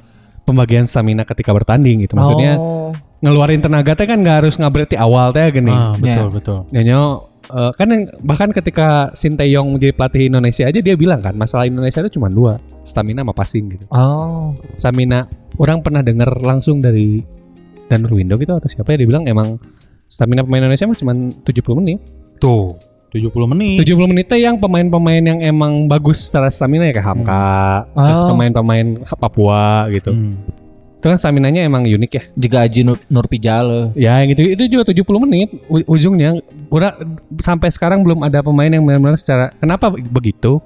pembagian stamina ketika bertanding gitu. Maksudnya
Oh.
ngeluarin tenaga teh kan nggak harus ngabret di awal teh gini.
Ah, betul
Ya.
betul.
Nyonya eh, kan yang- bahkan ketika Sinteyong jadi pelatih Indonesia aja dia bilang kan masalah Indonesia itu cuma dua, stamina sama passing gitu.
Oh.
Stamina orang pernah dengar langsung dari dan Windo gitu atau siapa ya dia bilang emang stamina pemain Indonesia mah cuma 70 menit.
Tuh, 70 menit.
70 menit teh yang pemain-pemain yang emang bagus secara stamina ya kayak Hamka, terus
Oh.
pemain-pemain Papua gitu. Itu kan staminanya emang unik ya.
Jika Aji Nur, Nur Pijale.
Ya yang gitu itu juga 70 menit u- ujungnya. Ura, sampai sekarang belum ada pemain yang benar-benar secara kenapa begitu?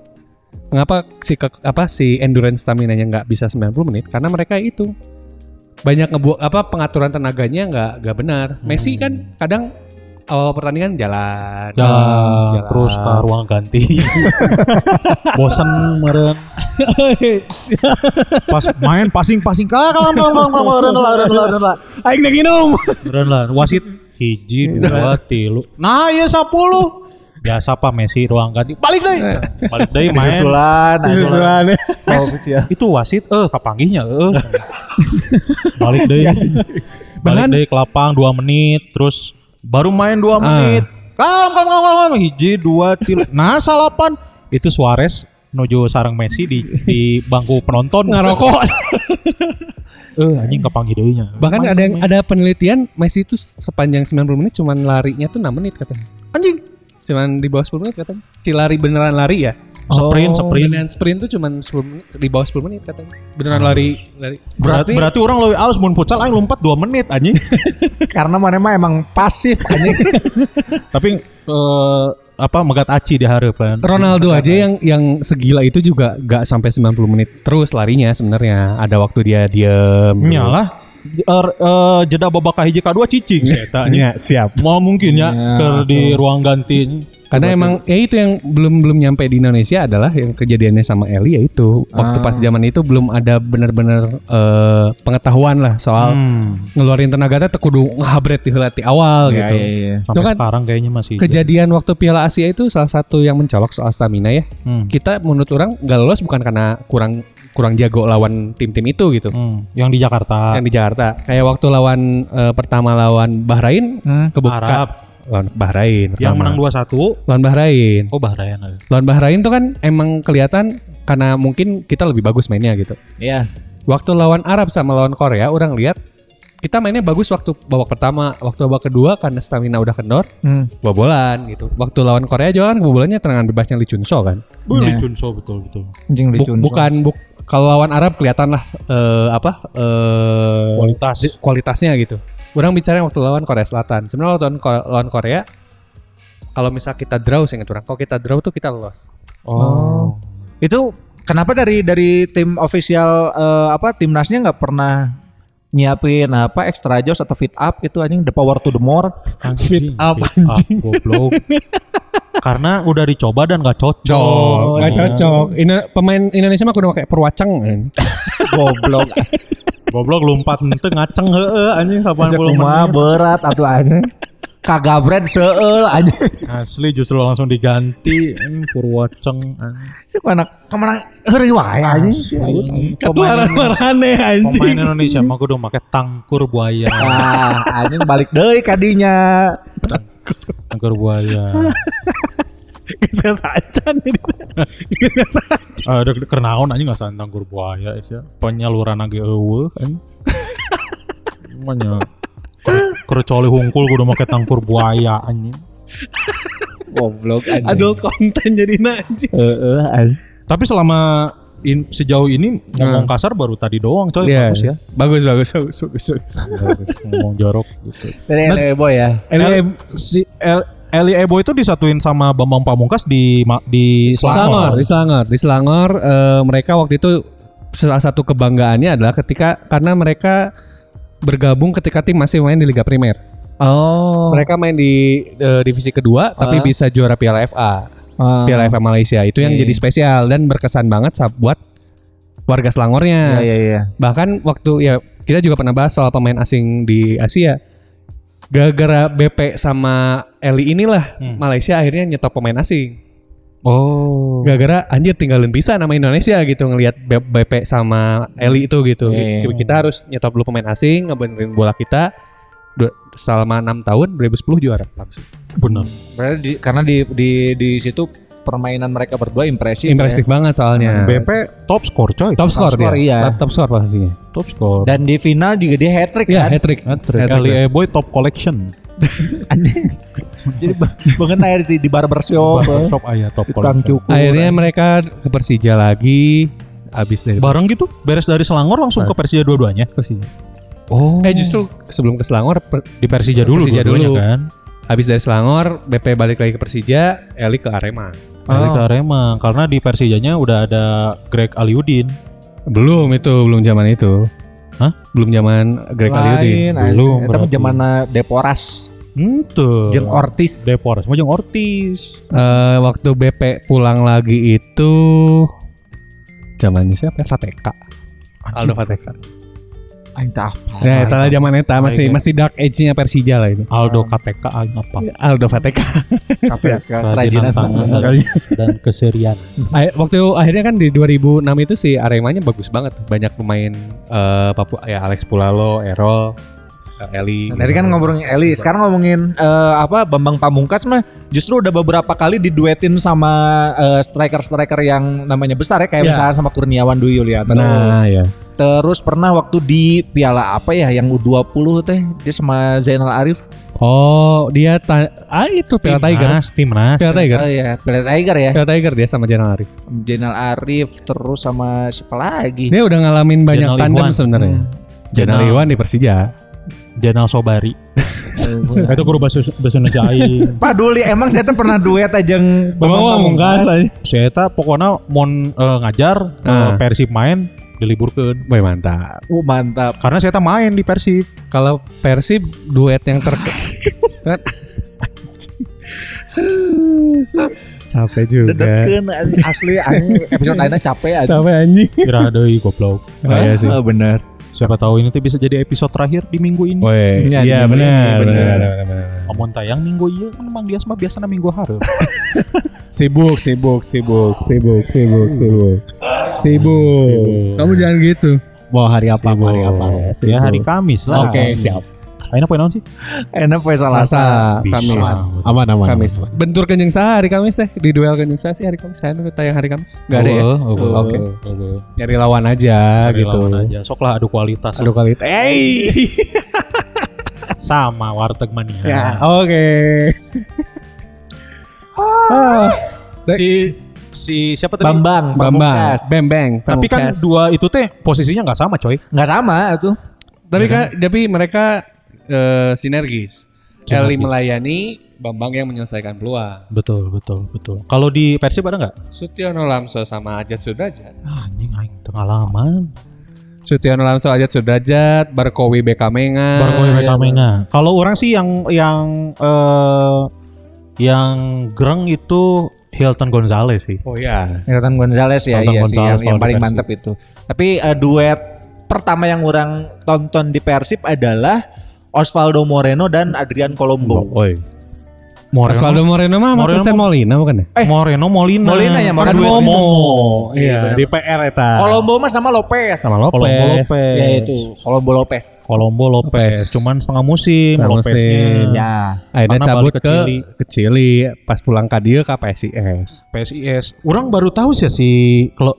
Mengapa si ke- apa si endurance stamina nya nggak bisa 90 menit? Karena mereka itu banyak ngebuat apa pengaturan tenaganya nggak nggak benar. Messi kan kadang awal pertandingan jalan,
Dah,
Ya.
terus ke ruang ganti. Bosan meren. Pas main passing-passing kakak meren lah meren lah meren lah.
Aing teh minum.
Meren lah. Wasit hiji dua tilu. Nah,
iya,
ya 10. Biasa Pak Messi ruang ganti. Balik deh. Balik deh main.
Susulan,
nah,
susulan.
Oh, itu wasit eh kapanggihnya eh balik deh balik
Bahkan-
deh ke lapang 2 menit terus Ah. baru main 2 menit kalem kalem kalem kalem hiji dua tilu nah salapan itu Suarez nojo sarang Messi di di bangku penonton ngerokok eh anjing kapanggih deunya
Bahkan ada yang ada penelitian Messi itu sepanjang 90 menit cuman larinya tuh 6 menit katanya.
anjing
Cuman di bawah 10 menit katanya. Si lari beneran lari ya.
Oh. Sprint, sprint. Ah.
Beneran sprint tuh cuman 10 menit, di bawah 10 menit katanya. Beneran lari lari.
berarti
Berarti-
berarti orang lebih aus mun futsal aing lompat 2 menit anjing
Karena mana mah emang pasif anjing.
tapi eh, apa megat aci di hareup kan
Ronaldo aja yang yang segila itu juga gak sampai 90 menit terus larinya sebenarnya. Ada waktu dia diem.
Nyalah Er, eh, jeda babak kahiji kedua cicing setanya.
siap.
Mau mungkin ya, ke di ruang ganti.
Karena emang ya itu yang belum belum nyampe di Indonesia adalah yang kejadiannya sama Eli yaitu waktu
Ah.
pas zaman itu belum ada benar-benar eh, pengetahuan lah soal
Hmm.
ngeluarin tenaga teh teu kudu ngahabret di heula ti awal
Ya,
gitu.
Sampai
Itu kan
sekarang kayaknya masih.
Kejadian waktu Piala Asia itu salah satu yang mencolok soal stamina ya.
Hmm.
Kita menurut orang nggak lolos bukan karena kurang kurang jago lawan tim-tim itu gitu.
Hmm, yang di Jakarta.
Yang di Jakarta. Kayak waktu lawan eh, pertama lawan Bahrain kebuka
Arab.
lawan Bahrain.
Yang
pertama.
menang 2-1.
lawan Bahrain.
Oh Bahrain.
Lawan Bahrain tuh kan emang kelihatan karena mungkin kita lebih bagus mainnya gitu.
Iya.
Waktu lawan Arab sama lawan Korea, orang lihat kita mainnya bagus waktu babak pertama, waktu babak kedua karena stamina udah kendor,
Hmm.
kebobolan gitu. Waktu lawan Korea juga kan kebobolannya tendangan bebasnya Lee Chun Soo kan.
Bu Lee Chun Soo betul betul.
Anjing
Bu-
lucu.
bukan buk- kalau lawan Arab kelihatan lah eh, apa eh,
Kualitas.
di- kualitasnya gitu. Orang bicara yang waktu lawan Korea Selatan. Sebenarnya waktu lawan Ko- lawan Korea kalau misal kita draw seingat orang, kalau kita draw tuh kita lolos.
Oh. Itu kenapa dari dari tim official eh, apa timnasnya nggak pernah nyiapin apa extra joss atau fit up
gitu,
itu anjing the power to the more.
Anjing,
up,
fit up, goblok. Karena udah dicoba dan gak cocok.
Cocok, nggak cocok. Ina- pemain Indonesia mah kudu pakai perwacang. kan.
Goblok.
Goblok lompat ente ngaceng heeh anjing 80
Cuma
menit.
berat atau anjing. Kagabret seuel anjing.
Asli justru langsung diganti Ini Purwaceng anjing.
Si mana kemana heureui wae anjing.
Pemain,
Marane anjing.
pemain Indonesia mah kudu make tangkur buaya.
Ah, anjing balik deui kadinya.
Tangkur buaya.
Geus sacan ini. Geus sacan.
Ada kerenaon anjing nggak santang tangkur buaya sih. Penyaluran lagi eueuh anjing. Manya kercoli hungkul kudu make tangkur buaya anjing.
Goblok anjing.
Adult content jadi anjing.
Heeh anjing.
Tapi selama in- sejauh ini ngomong kasar baru tadi doang coy
Iya,
bagus ya.
Bagus bagus bagus. bagus, bagus.
ngomong jorok gitu.
Dari
Mas-
Mas, boy ya.
Eli si El- Eli Ebo itu disatuin sama Bambang Pamungkas di ma- di
Selangor,
Selangor.
di Selangor, di Selangor eh, mereka waktu itu salah satu kebanggaannya adalah ketika karena mereka bergabung ketika tim masih main di Liga Primer.
Oh.
Mereka main di eh, divisi kedua tapi bisa juara Piala FA,
Ah. Iya,
Piala FA Malaysia. Itu yang jadi spesial dan berkesan banget sa- buat warga Selangornya.
Iya iya iya.
Bahkan waktu ya kita juga pernah bahas soal pemain asing di Asia. Gara-gara BP sama Eli inilah
Hmm.
Malaysia akhirnya nyetop pemain asing.
Oh.
gara-gara anjir tinggalin bisa nama Indonesia gitu ngelihat B- BP sama Eli itu gitu.
Iya, iya.
Kita harus nyetop dulu pemain asing, ngebenerin bola kita Du- selama 6 tahun 2010 juara langsung.
Benar.
Berarti di- karena di di di situ permainan mereka berdua impresif.
Impresif banget
Iya.
soalnya.
BP top score coy.
top score dia.
score, iya.
Top score posisinya.
top score.
ya. Dan di final juga dia hat trick
Ya,
kan.
hat trick.
ya.
Eli Ebo top collection.
Jadi ba- banget aja di, di barbershop.
Shop ayah top
Tukang
collection.
cukur.
Akhirnya mereka ke Persija lagi habis dari
Bareng gitu beres dari Selangor langsung
Nah.
ke Persija dua-duanya.
Persija.
Oh.
Eh justru sebelum ke Selangor per-
di Persija dulu
Persija
dua-duanya
dulu.
kan.
habis dari Selangor BP balik lagi ke Persija, Eli ke Arema.
Ah.
Balik ke Arema karena di Persijanya udah ada Greg Aliudin.
Belum itu, belum zaman itu.
Hah?
Belum zaman Greg Aliudin.
Lain, anjing.
Belum,
Eh,
Itu mah
berarti.
zaman Deporas,
Ente.
Jeng Ortiz.
Depor, semua Jeng Ortiz.
Eh, waktu BP pulang lagi itu zamannya siapa? ya? Fateka. Aldo Fateka.
Aing teu apa.
Nah, itu lah zaman eta masih masih dark age-nya Persija lah itu.
Aldo KTK aing apa?
Iya.
Aldo Fateka.
Kerajinan tangan dan, dan keserian.
Ah, waktu akhirnya kan di 2006 itu si Aremanya bagus banget. tuh. Banyak pemain eh, Papua ya Alex Pulalo, Erol, eh, Eli.
Nah, Tadi kan ngomongin Eli, sekarang ngomongin eh, apa Bambang Pamungkas mah justru udah beberapa kali diduetin sama eh, striker-striker yang namanya besar ya kayak
Ya.
misalnya sama Kurniawan Dwi Yulianto.
Nah, ya.
Terus pernah waktu di Piala apa ya yang U20 teh dia sama Zainal Arif.
Oh, dia ta- ah itu Piala Tiger.
Timnas, timnas.
Piala Tiger.
Oh iya, Piala Tiger ya.
Piala Tiger dia sama Janal Arif.
Zainal Arif terus sama siapa lagi?
Dia udah ngalamin banyak
Jenal
tandem
Iwan.
sebenarnya. Jenal
Jenal-
Iwan di Persija.
Janal Sobari.
Nah.
Itu guru bahasa bahasa Indonesia aing.
Pak Duli emang saya tuh pernah duet aja yang Bambang Pamungkas.
Si Eta pokoknya mon eh, ngajar eh,
Ah.
Persib main diliburkan.
Boy mantap.
Uh, mantap.
Karena si Eta main di Persib.
Kalau Persib duet yang ter capek juga.
Dedetkeun anjing. asli anjing episode lainnya capek aja.
Capek anjing.
Kira deui goblok.
Oh, iya sih.
benar.
Siapa tahu ini tuh bisa jadi episode terakhir di minggu ini.
Woi,
Iya,
iya benar,
bener, bener.
benar, benar.
Omon tayang minggu iya memang dia mah biasanya minggu hari.
Sibuk, sibuk, sibuk, sibuk, sibuk, sibuk. Sibuk. Kamu jangan gitu.
Mau hari apa? mau hari apa?
ya hari Kamis lah.
Oke, siap.
Aina poin naon sih?
Enak poe Selasa.
Selasa, Kamis.
Aman aman. aman.
Kamis.
Bentur kenjeng saya hari Kamis teh di duel kenjeng saya sih hari Kamis saya nunggu tayang hari Kamis nggak ada ya
Eueuh, eueuh.
oke nyari lawan
Ah,
aja
Hari
gitu
lawan aja. Sok lah adu kualitas.
aduh kali hey
Sama warteg mania.
Ya. oke
Si si siapa tadi?
Bambang,
Bambang.
Pamungkas.
Bembeng.
Tapi kan
Pamungkas.
dua itu teh posisinya nggak sama coy.
nggak sama tuh.
Tapi kan, tapi mereka eh, sinergis. Eli melayani, Bambang yang menyelesaikan peluang.
Betul, betul, betul. Kalau di Persib ada nggak?
Sutiono Lamso sama Ajat Sudrajat.
Ah, anjing aing pengalaman.
Sutiono Lamso, Ajat Sudrajat, Barkowi Bekamenga.
Barkoy Bekamenga. Kalau orang sih yang yang eh, yang greng itu Hilton Gonzalez sih.
Oh ya.
iya. Nathan Gonzalez ya,
Nathan
iya sih
Gonzalez
yang,
kalau
yang
di
paling
Persib.
mantap itu. Tapi eh, duet pertama yang orang tonton di Persib adalah Osvaldo Moreno dan Adrian Colombo.
Oi. Moreno.
Osvaldo Moreno mah sama
Moreno
Christian Molina bukan ya?
Eh.
Moreno Molina.
Molina ya, Moreno.
Kan duet
Molina.
Momo.
Iya,
di PR eta.
Colombo mah sama Lopez.
Sama Lopez.
Colombo Lopez.
Ya itu, Colombo Lopez.
Colombo Lopez.
Lopez.
Cuman setengah musim
Setengah
Lopeznya.
musim.
Ya.
Akhirnya
Karena
cabut
balik
ke,
ke Chili.
ke Chili, pas pulang ke dia ke PSIS.
PSIS. Orang baru tahu sih ya si kalau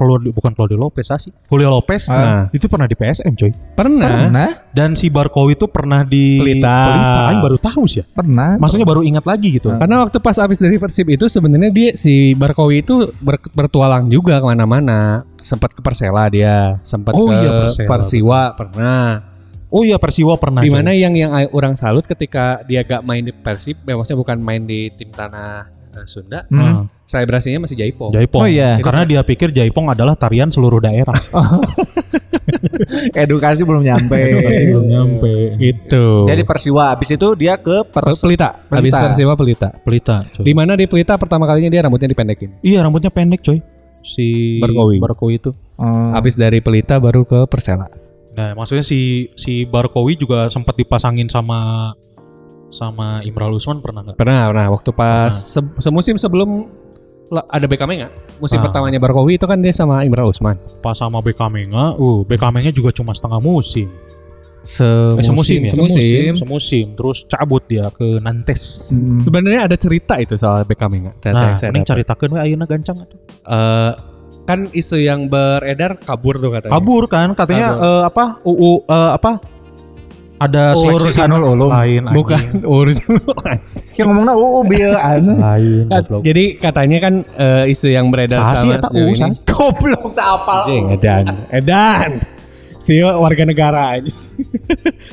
kalau bukan Claudio Lopez ah, sih. Julio Lopez.
Ah.
Nah, itu pernah di PSM coy.
Pernah.
Pernah?
Dan si Barkowi itu pernah di
Pelita.
Aing baru tahu sih ya.
Pernah.
Maksudnya baru ingat lagi gitu.
Karena waktu pas habis dari Persib itu sebenarnya dia si Barkowi itu ber- bertualang juga kemana-mana. Sempat ke Persela dia, sempat
Oh
ke
iya, Persela.
Persiwa pernah.
Oh iya Persiwa pernah. coy.
Dimana yang yang ai- orang salut ketika dia gak main di Persib, ya maksudnya bukan main di tim tanah eh, Sunda.
Hmm.
Selebrasinya masih Jaipong.
Oh
Jaipong.
iya.
Karena dia pikir Jaipong adalah tarian seluruh daerah.
Edukasi belum
Iya,
nyampe.
Belum nyampe.
Gitu.
Jadi Persiwa habis itu dia ke Pers
Pelita,
Pelita.
habis Persiwa Pelita.
Pelita. coy.
Di mana di Pelita pertama kalinya dia rambutnya dipendekin.
Iya rambutnya pendek coy. Si
Barkowi.
Barkowi itu.
Hmm.
Habis dari Pelita baru ke Persela.
Nah maksudnya si si Barkowi juga sempat dipasangin sama sama Imral Usman pernah nggak?
Pernah, pernah. Waktu pas se- semusim sebelum la- ada BKM nggak? Musim
Ah.
pertamanya Barkowi itu kan dia sama Imra Usman.
Pas sama BKM-nya, uh BKM-nya juga cuma setengah musim.
Semusim,
Eh, semusim, ya?
Semusim.
Semusim. Terus cabut dia ke Nantes.
Sebenarnya ada cerita itu soal BKM nggak? Ternyata
Nah,
yang saya
ini
dapat.
ceritakan we ayeuna gancang atuh.
Eh, kan isu yang beredar kabur tuh katanya.
Kabur kan katanya
Kabur. Oh,
eh, apa? UU eh, apa? Ada seleksi gitu.
Urusanul ulum.
lain
Bukan
anjing.
urusan orang.
Si ngomongna uu bil anu.
lain
Kan, ya,
goblok.
Jadi katanya kan eh, isu yang beredar
Saha sih
sama
eta
sejauh
UU, saha?
Goblok saapal.
Anjing, edan, edan. Si warga negara aja.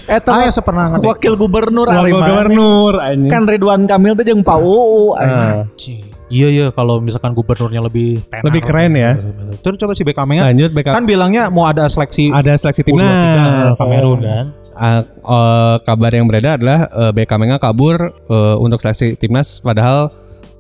Eta
Ah,
mah
ya, sepernah ngerti.
Eh, wakil gubernur
Warga
ari mah.
gubernur aja.
Kan Ridwan Kamil teh jeung Pak Uu. anjing.
Cih. Iya iya kalau misalkan gubernurnya lebih tenar.
Lebih keren ya.
Terus coba si Beckham nya
Lanjut BKM.
kan bilangnya mau ada seleksi
ada Oh, seleksi
U23
timnas.
Kamerun kan.
Ah, eh, kabar yang beredar adalah eh, BKM nya kabur eh, untuk seleksi timnas padahal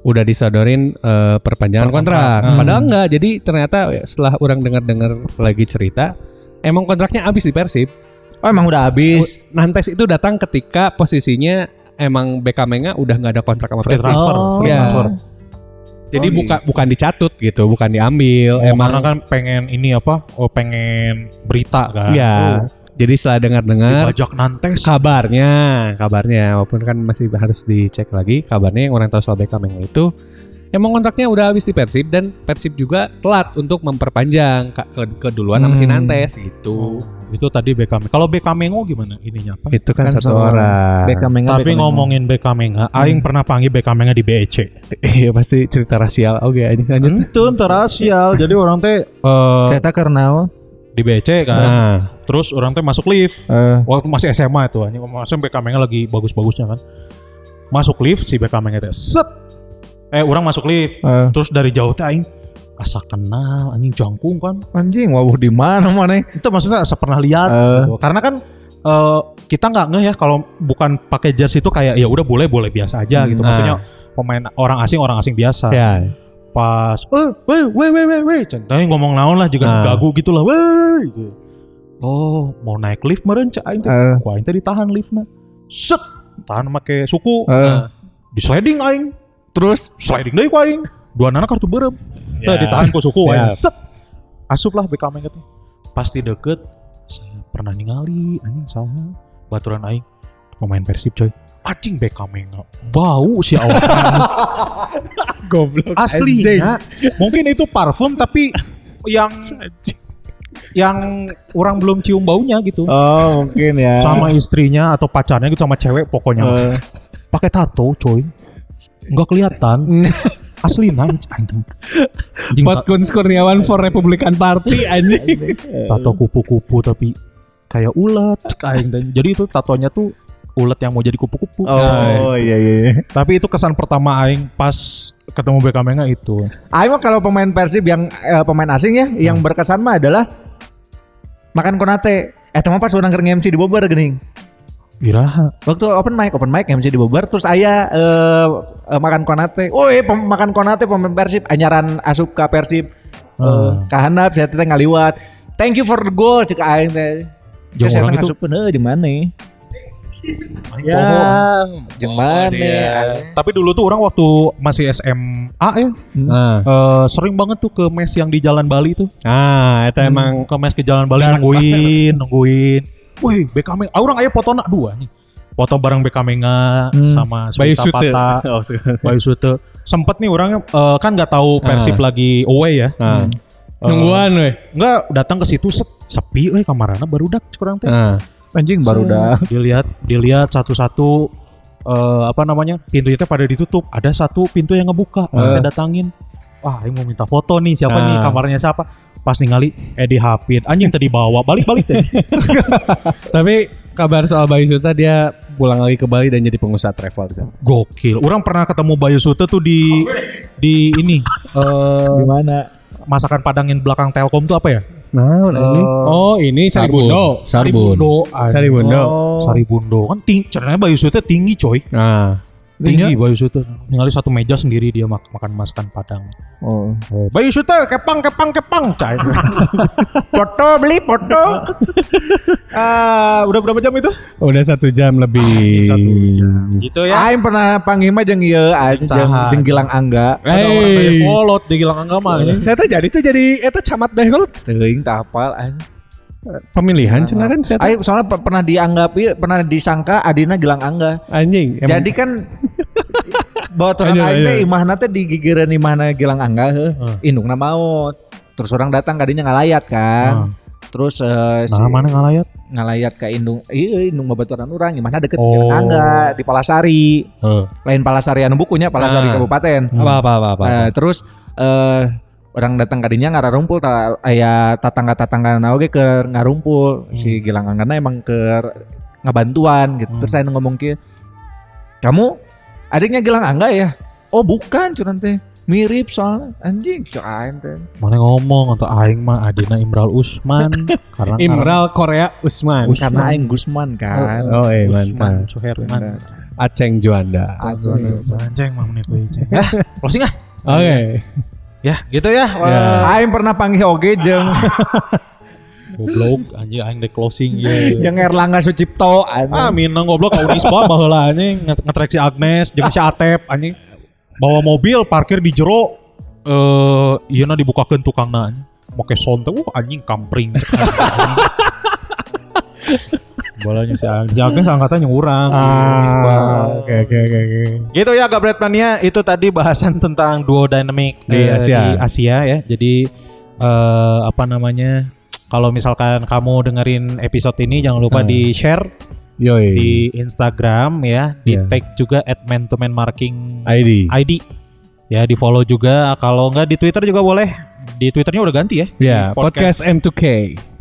udah disodorin eh, perpanjangan kontrak.
Hmm.
Padahal enggak. Jadi ternyata setelah orang dengar-dengar lagi cerita, emang kontraknya habis di Persib.
Oh emang udah habis.
Nantes itu datang ketika posisinya emang BKM nya udah nggak ada kontrak sama
Free
Persib.
transfer, free
Iya.
transfer. Oh, iya.
Jadi bukan bukan dicatut gitu, bukan diambil.
Emang
emang
kan pengen ini apa? Oh pengen berita kan.
ya. Jadi setelah dengar-dengar
Dibajak Nantes.
kabarnya kabarnya walaupun kan masih harus dicek lagi kabarnya yang orang tahu soal Beckham yang itu emang kontraknya udah habis di Persib dan Persib juga telat untuk memperpanjang ka- ke keduluan sama si
Hmm.
Nantes gitu
Itu tadi Beckham. Kalau Beckham gimana ininya apa?
itu
Kan satu orang. Beckham enggak,
Tapi
Beckham
ngomongin Beckham aing pernah panggil Beckham di BEC.
Hmm. iya pasti cerita rasial oke lanjut lanjut
Hmm, Itu terasial. Jadi orang teh eh,
enggak. Saya tak kenal.
di BEC kan.
nah Eh.
Terus orang teh masuk lift. waktu masih SMA itu anjing masih BKM-nya lagi bagus-bagusnya kan masuk lift si BKM-nya teh set eh orang masuk lift
Eh.
terus dari jauh teh aing asa kenal anjing jangkung kan
Anjing, wawuh di mana mana?
itu maksudnya asa pernah lihat
Eh.
gitu. karena kan eh, kita nggak ngeh ya kalau bukan pakai jas itu kayak ya udah boleh boleh biasa aja
Hmm,
gitu
Nah.
maksudnya pemain orang asing orang asing biasa
ya
pas eh weh weh weh weh weh Can- aing ngomong naon lah juga
Nah.
gagu gitu lah weh gitu. oh mau naik lift meren cak aing teh
Eh.
Ku aing teh ditahan liftnya. Set, tahan make suku.
Eh.
Di sliding aing. Terus sliding deui ku aing. Dua anak kartu berem. Teh
Ya,
ditahan ku suku aing.
siap.
Set. Asup lah BK mengget. Pasti deket. Saya pernah ningali anjing saha. Baturan aing pemain Persib coy. Anjing BK menga. Bau si awak.
goblok
Aslinya mungkin itu parfum tapi yang yang orang belum cium baunya gitu
Oh, mungkin ya. Eh.
sama istrinya atau pacarnya
Hmm.
gitu sama cewek pokoknya pakai tato coy nggak kelihatan asli nanj anjing. Anjing ta-
Fatkuns Kurniawan for Republican Party anjing.
tato kupu-kupu tapi kayak ulat cek aing dan jadi itu tatonya tuh ulat yang mau jadi
Oh.
kupu-kupu. Nah,
iya iya. iya.
Tapi itu kesan pertama aing pas ketemu Bekamenga itu.
Aing mah kalau pemain Persib yang eh, pemain asing ya yang berkesan mah adalah makan konate. Eh teman pas orang nge-MC di Bogor gening.
Iraha.
Waktu open mic, open mic MC di Bogor terus aya eh, eh, makan konate. Oh, makan konate pemain Persib anyaran asup ka Persib. Eh, kahanap saya teh ngaliwat. Thank you for the goal cek aing teh.
Jeung
Terus saya
orang itu-
ngasup heeh di mana?
Ya.
Jeung mana?
Oh. Tapi dulu tuh orang waktu masih SMA ya,
Hmm.
eh, sering banget tuh ke mes yang di Jalan Bali tuh.
Nah, itu emang
Emang ke mes ke Jalan Bali
Dark
nungguin, nungguin. Wih, BKM, ah, orang aya foto nak dua nih. Foto bareng BKMenga sama
Hmm. Bayu
Sumita
Sute.
Pata,
Oh, suka.
Bayu Sute. Sempet nih orangnya eh, kan nggak tahu Persib lagi away ya.
Ah.
Nah,
Eh,
Nungguan weh.
Enggak, datang ke situ set, sepi euy kamarana barudak kurang teh.
Ah.
nah.
Anjing baru
Hmm.
dah.
Dilihat, dilihat satu-satu eh, apa namanya? Pintunya teh pada ditutup. Ada satu pintu yang ngebuka, orang teh datangin. Wah, ini mau minta foto nih, siapa nih
Ah.
kamarnya siapa? Pas ningali eh dihapit. Anjing tadi bawa balik-balik teh.
Tapi kabar soal Bayu Suta dia pulang lagi ke Bali dan jadi pengusaha travel di sana.
Gokil. Orang pernah ketemu Bayu Sute tuh di di ini eh,
Gimana?
masakan Padang yang belakang Telkom tuh apa ya?
Nah, Oh, ini Saribundo.
Sarbun.
oh.
Saribundo.
Saribundo kan tinggi, ceritanya Bayu Sute tinggi coy.
Ah.
Tinggi Bayu Sute. Ningali satu meja sendiri dia mak- makan masakan Padang. Oh. Bayu Sute kepang kepang kepang cai.
Foto beli foto.
ah, udah berapa jam itu?
Udah satu jam lebih.
Satu jam. Gitu ya.
Aing pernah panggil mah jeung ieu aing jeung
Saha.
jeung Gilang Angga.
Ada orang
Hey.
dari Polot di Gilang Angga mah.
Saya tuh jadi tuh jadi eta camat deh kalau
Teuing tah hafal aing.
pemilihan
Nah,
cenah kan saya teh.
Aing soalnya pe- pernah dianggap ieu- pernah disangka Adina Gilang Angga.
anjing. emang-
Jadi kan bawaan
Ayo,
aing teh
ayo.
imahna teh digigireun imahna Gilang Angga heuh. Indukna maut. Terus orang datang kadinya ngalayat kan. Terus eh, si
Nah, mana ngalayat?
ngalayat ke indung ieu indung babaturan urang imahna deket
Oh.
Gilang Angga di Palasari.
Eh.
Lain Palasari anu bukunya Palasari
Ah.
Kabupaten.
Apa apa apa apa.
Eh, terus eh orang datang kadinya ngarumpul ta aya tatangga-tatangga oge ke ngarumpul
Hmm.
si Gilang Anggana emang ke ngabantuan gitu.
Hmm.
Terus saya ngomong ke kamu adiknya Gilang Angga ya? Oh bukan cuman teh mirip soalnya anjing cuman teh
Mana ngomong atau aing mah Adina Imral Usman karena
Imral Korea Usman.
karena Aing Gusman kan
Oh, eh
Usman
mantap.
Suherman.
Aceng Juanda.
Anjing mah menit euy, Ceng. Hah, Closing ah.
Oke.
Ya, gitu ya.
Eh,
Oh.
Aing pernah panggil oge jeung
Goblok anjing aing deh closing ya.
jeung Erlangga Sucipto anjing.
Ah, minang goblok kau Unisba baheula anjing nge- ngetrek si Agnes jeung si Atep anjing. Bawa mobil parkir di jero eh ieu na dibukakeun tukangna nah, anjing. Make sound teh uh anjing kampring. Bolanya si Agnes, si Agnes angkatan yang urang.
Oke oke oke oke.
Ah, Gitu ya Gabret Mania itu tadi bahasan tentang duo dynamic
Di
eh,
Asia.
di Asia ya. Jadi eh, apa namanya? Kalau misalkan kamu dengerin episode ini jangan lupa di-share
Yoi.
di Instagram ya, di
Iya.
tag juga at man to man marking
ID.
ID. Ya, di follow juga kalau nggak di Twitter juga boleh. Di Twitternya udah ganti ya.
Ya, podcast,
Podcast.
M2K.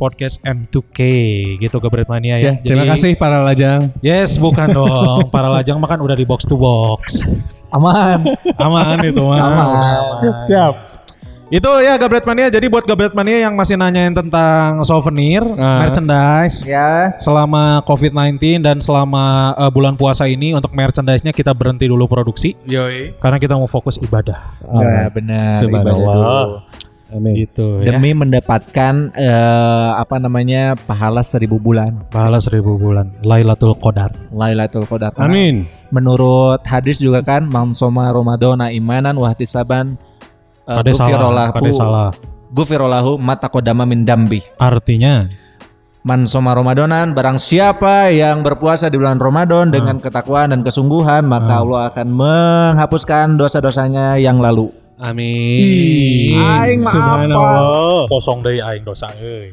Podcast M2K gitu Gabret Mania
Ya,
ya.
terima
Jadi-
kasih para lajang.
Yes, bukan dong. Para lajang makan udah di box to box. Aman. Aman itu mah.
Siap.
Itu ya Gabret Mania. Jadi buat Gabret Mania yang masih nanyain tentang souvenir, merchandise,
Ya.
selama COVID-19 dan selama eh, bulan puasa ini untuk merchandise-nya kita berhenti dulu produksi
Iya.
Yoi.
karena kita mau fokus ibadah.
Ya, benar. ibadah dulu.
Subhanallah. Amin. Gitu ya.
demi mendapatkan eh, apa namanya pahala seribu bulan
Pahala seribu bulan. Lailatul Qadar.
Lailatul Qadar.
Amin.
Menurut hadis juga kan, mamsoma Romadona imanan wahtisaban eh,
Kade salah.
gufirollahu
Kade salah.
gufirollahu mata kodama min dambi.
Artinya
Mansoma Romadonan, barang siapa yang berpuasa di bulan
Ah.
Ramadan dengan ketakwaan dan kesungguhan, maka Allah akan menghapuskan dosa-dosanya yang lalu.
Amin.
Aing mah
Subhanallah.
kosong dari aing dosa euy. Eh,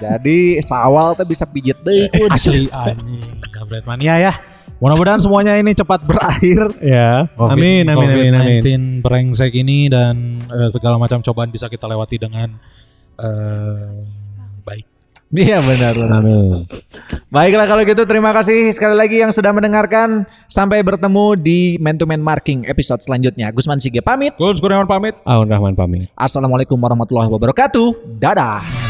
Jadi sawal tuh bisa pijit deh. kun.
Asli anjing. Gabret Mania ya. Mudah-mudahan semuanya ini cepat berakhir.
Ya.
Amin, amin, amin, amin.
COVID-19
brengsek ini dan eh, segala macam cobaan bisa kita lewati dengan eh, baik.
Iya benar. benar. Baiklah kalau gitu terima kasih sekali lagi yang sudah mendengarkan. Sampai bertemu di Man to Man Marking episode selanjutnya. Gusman Sige pamit.
Gue harus pamit.
Aun Rahman pamit.
Assalamualaikum warahmatullahi wabarakatuh. Dadah.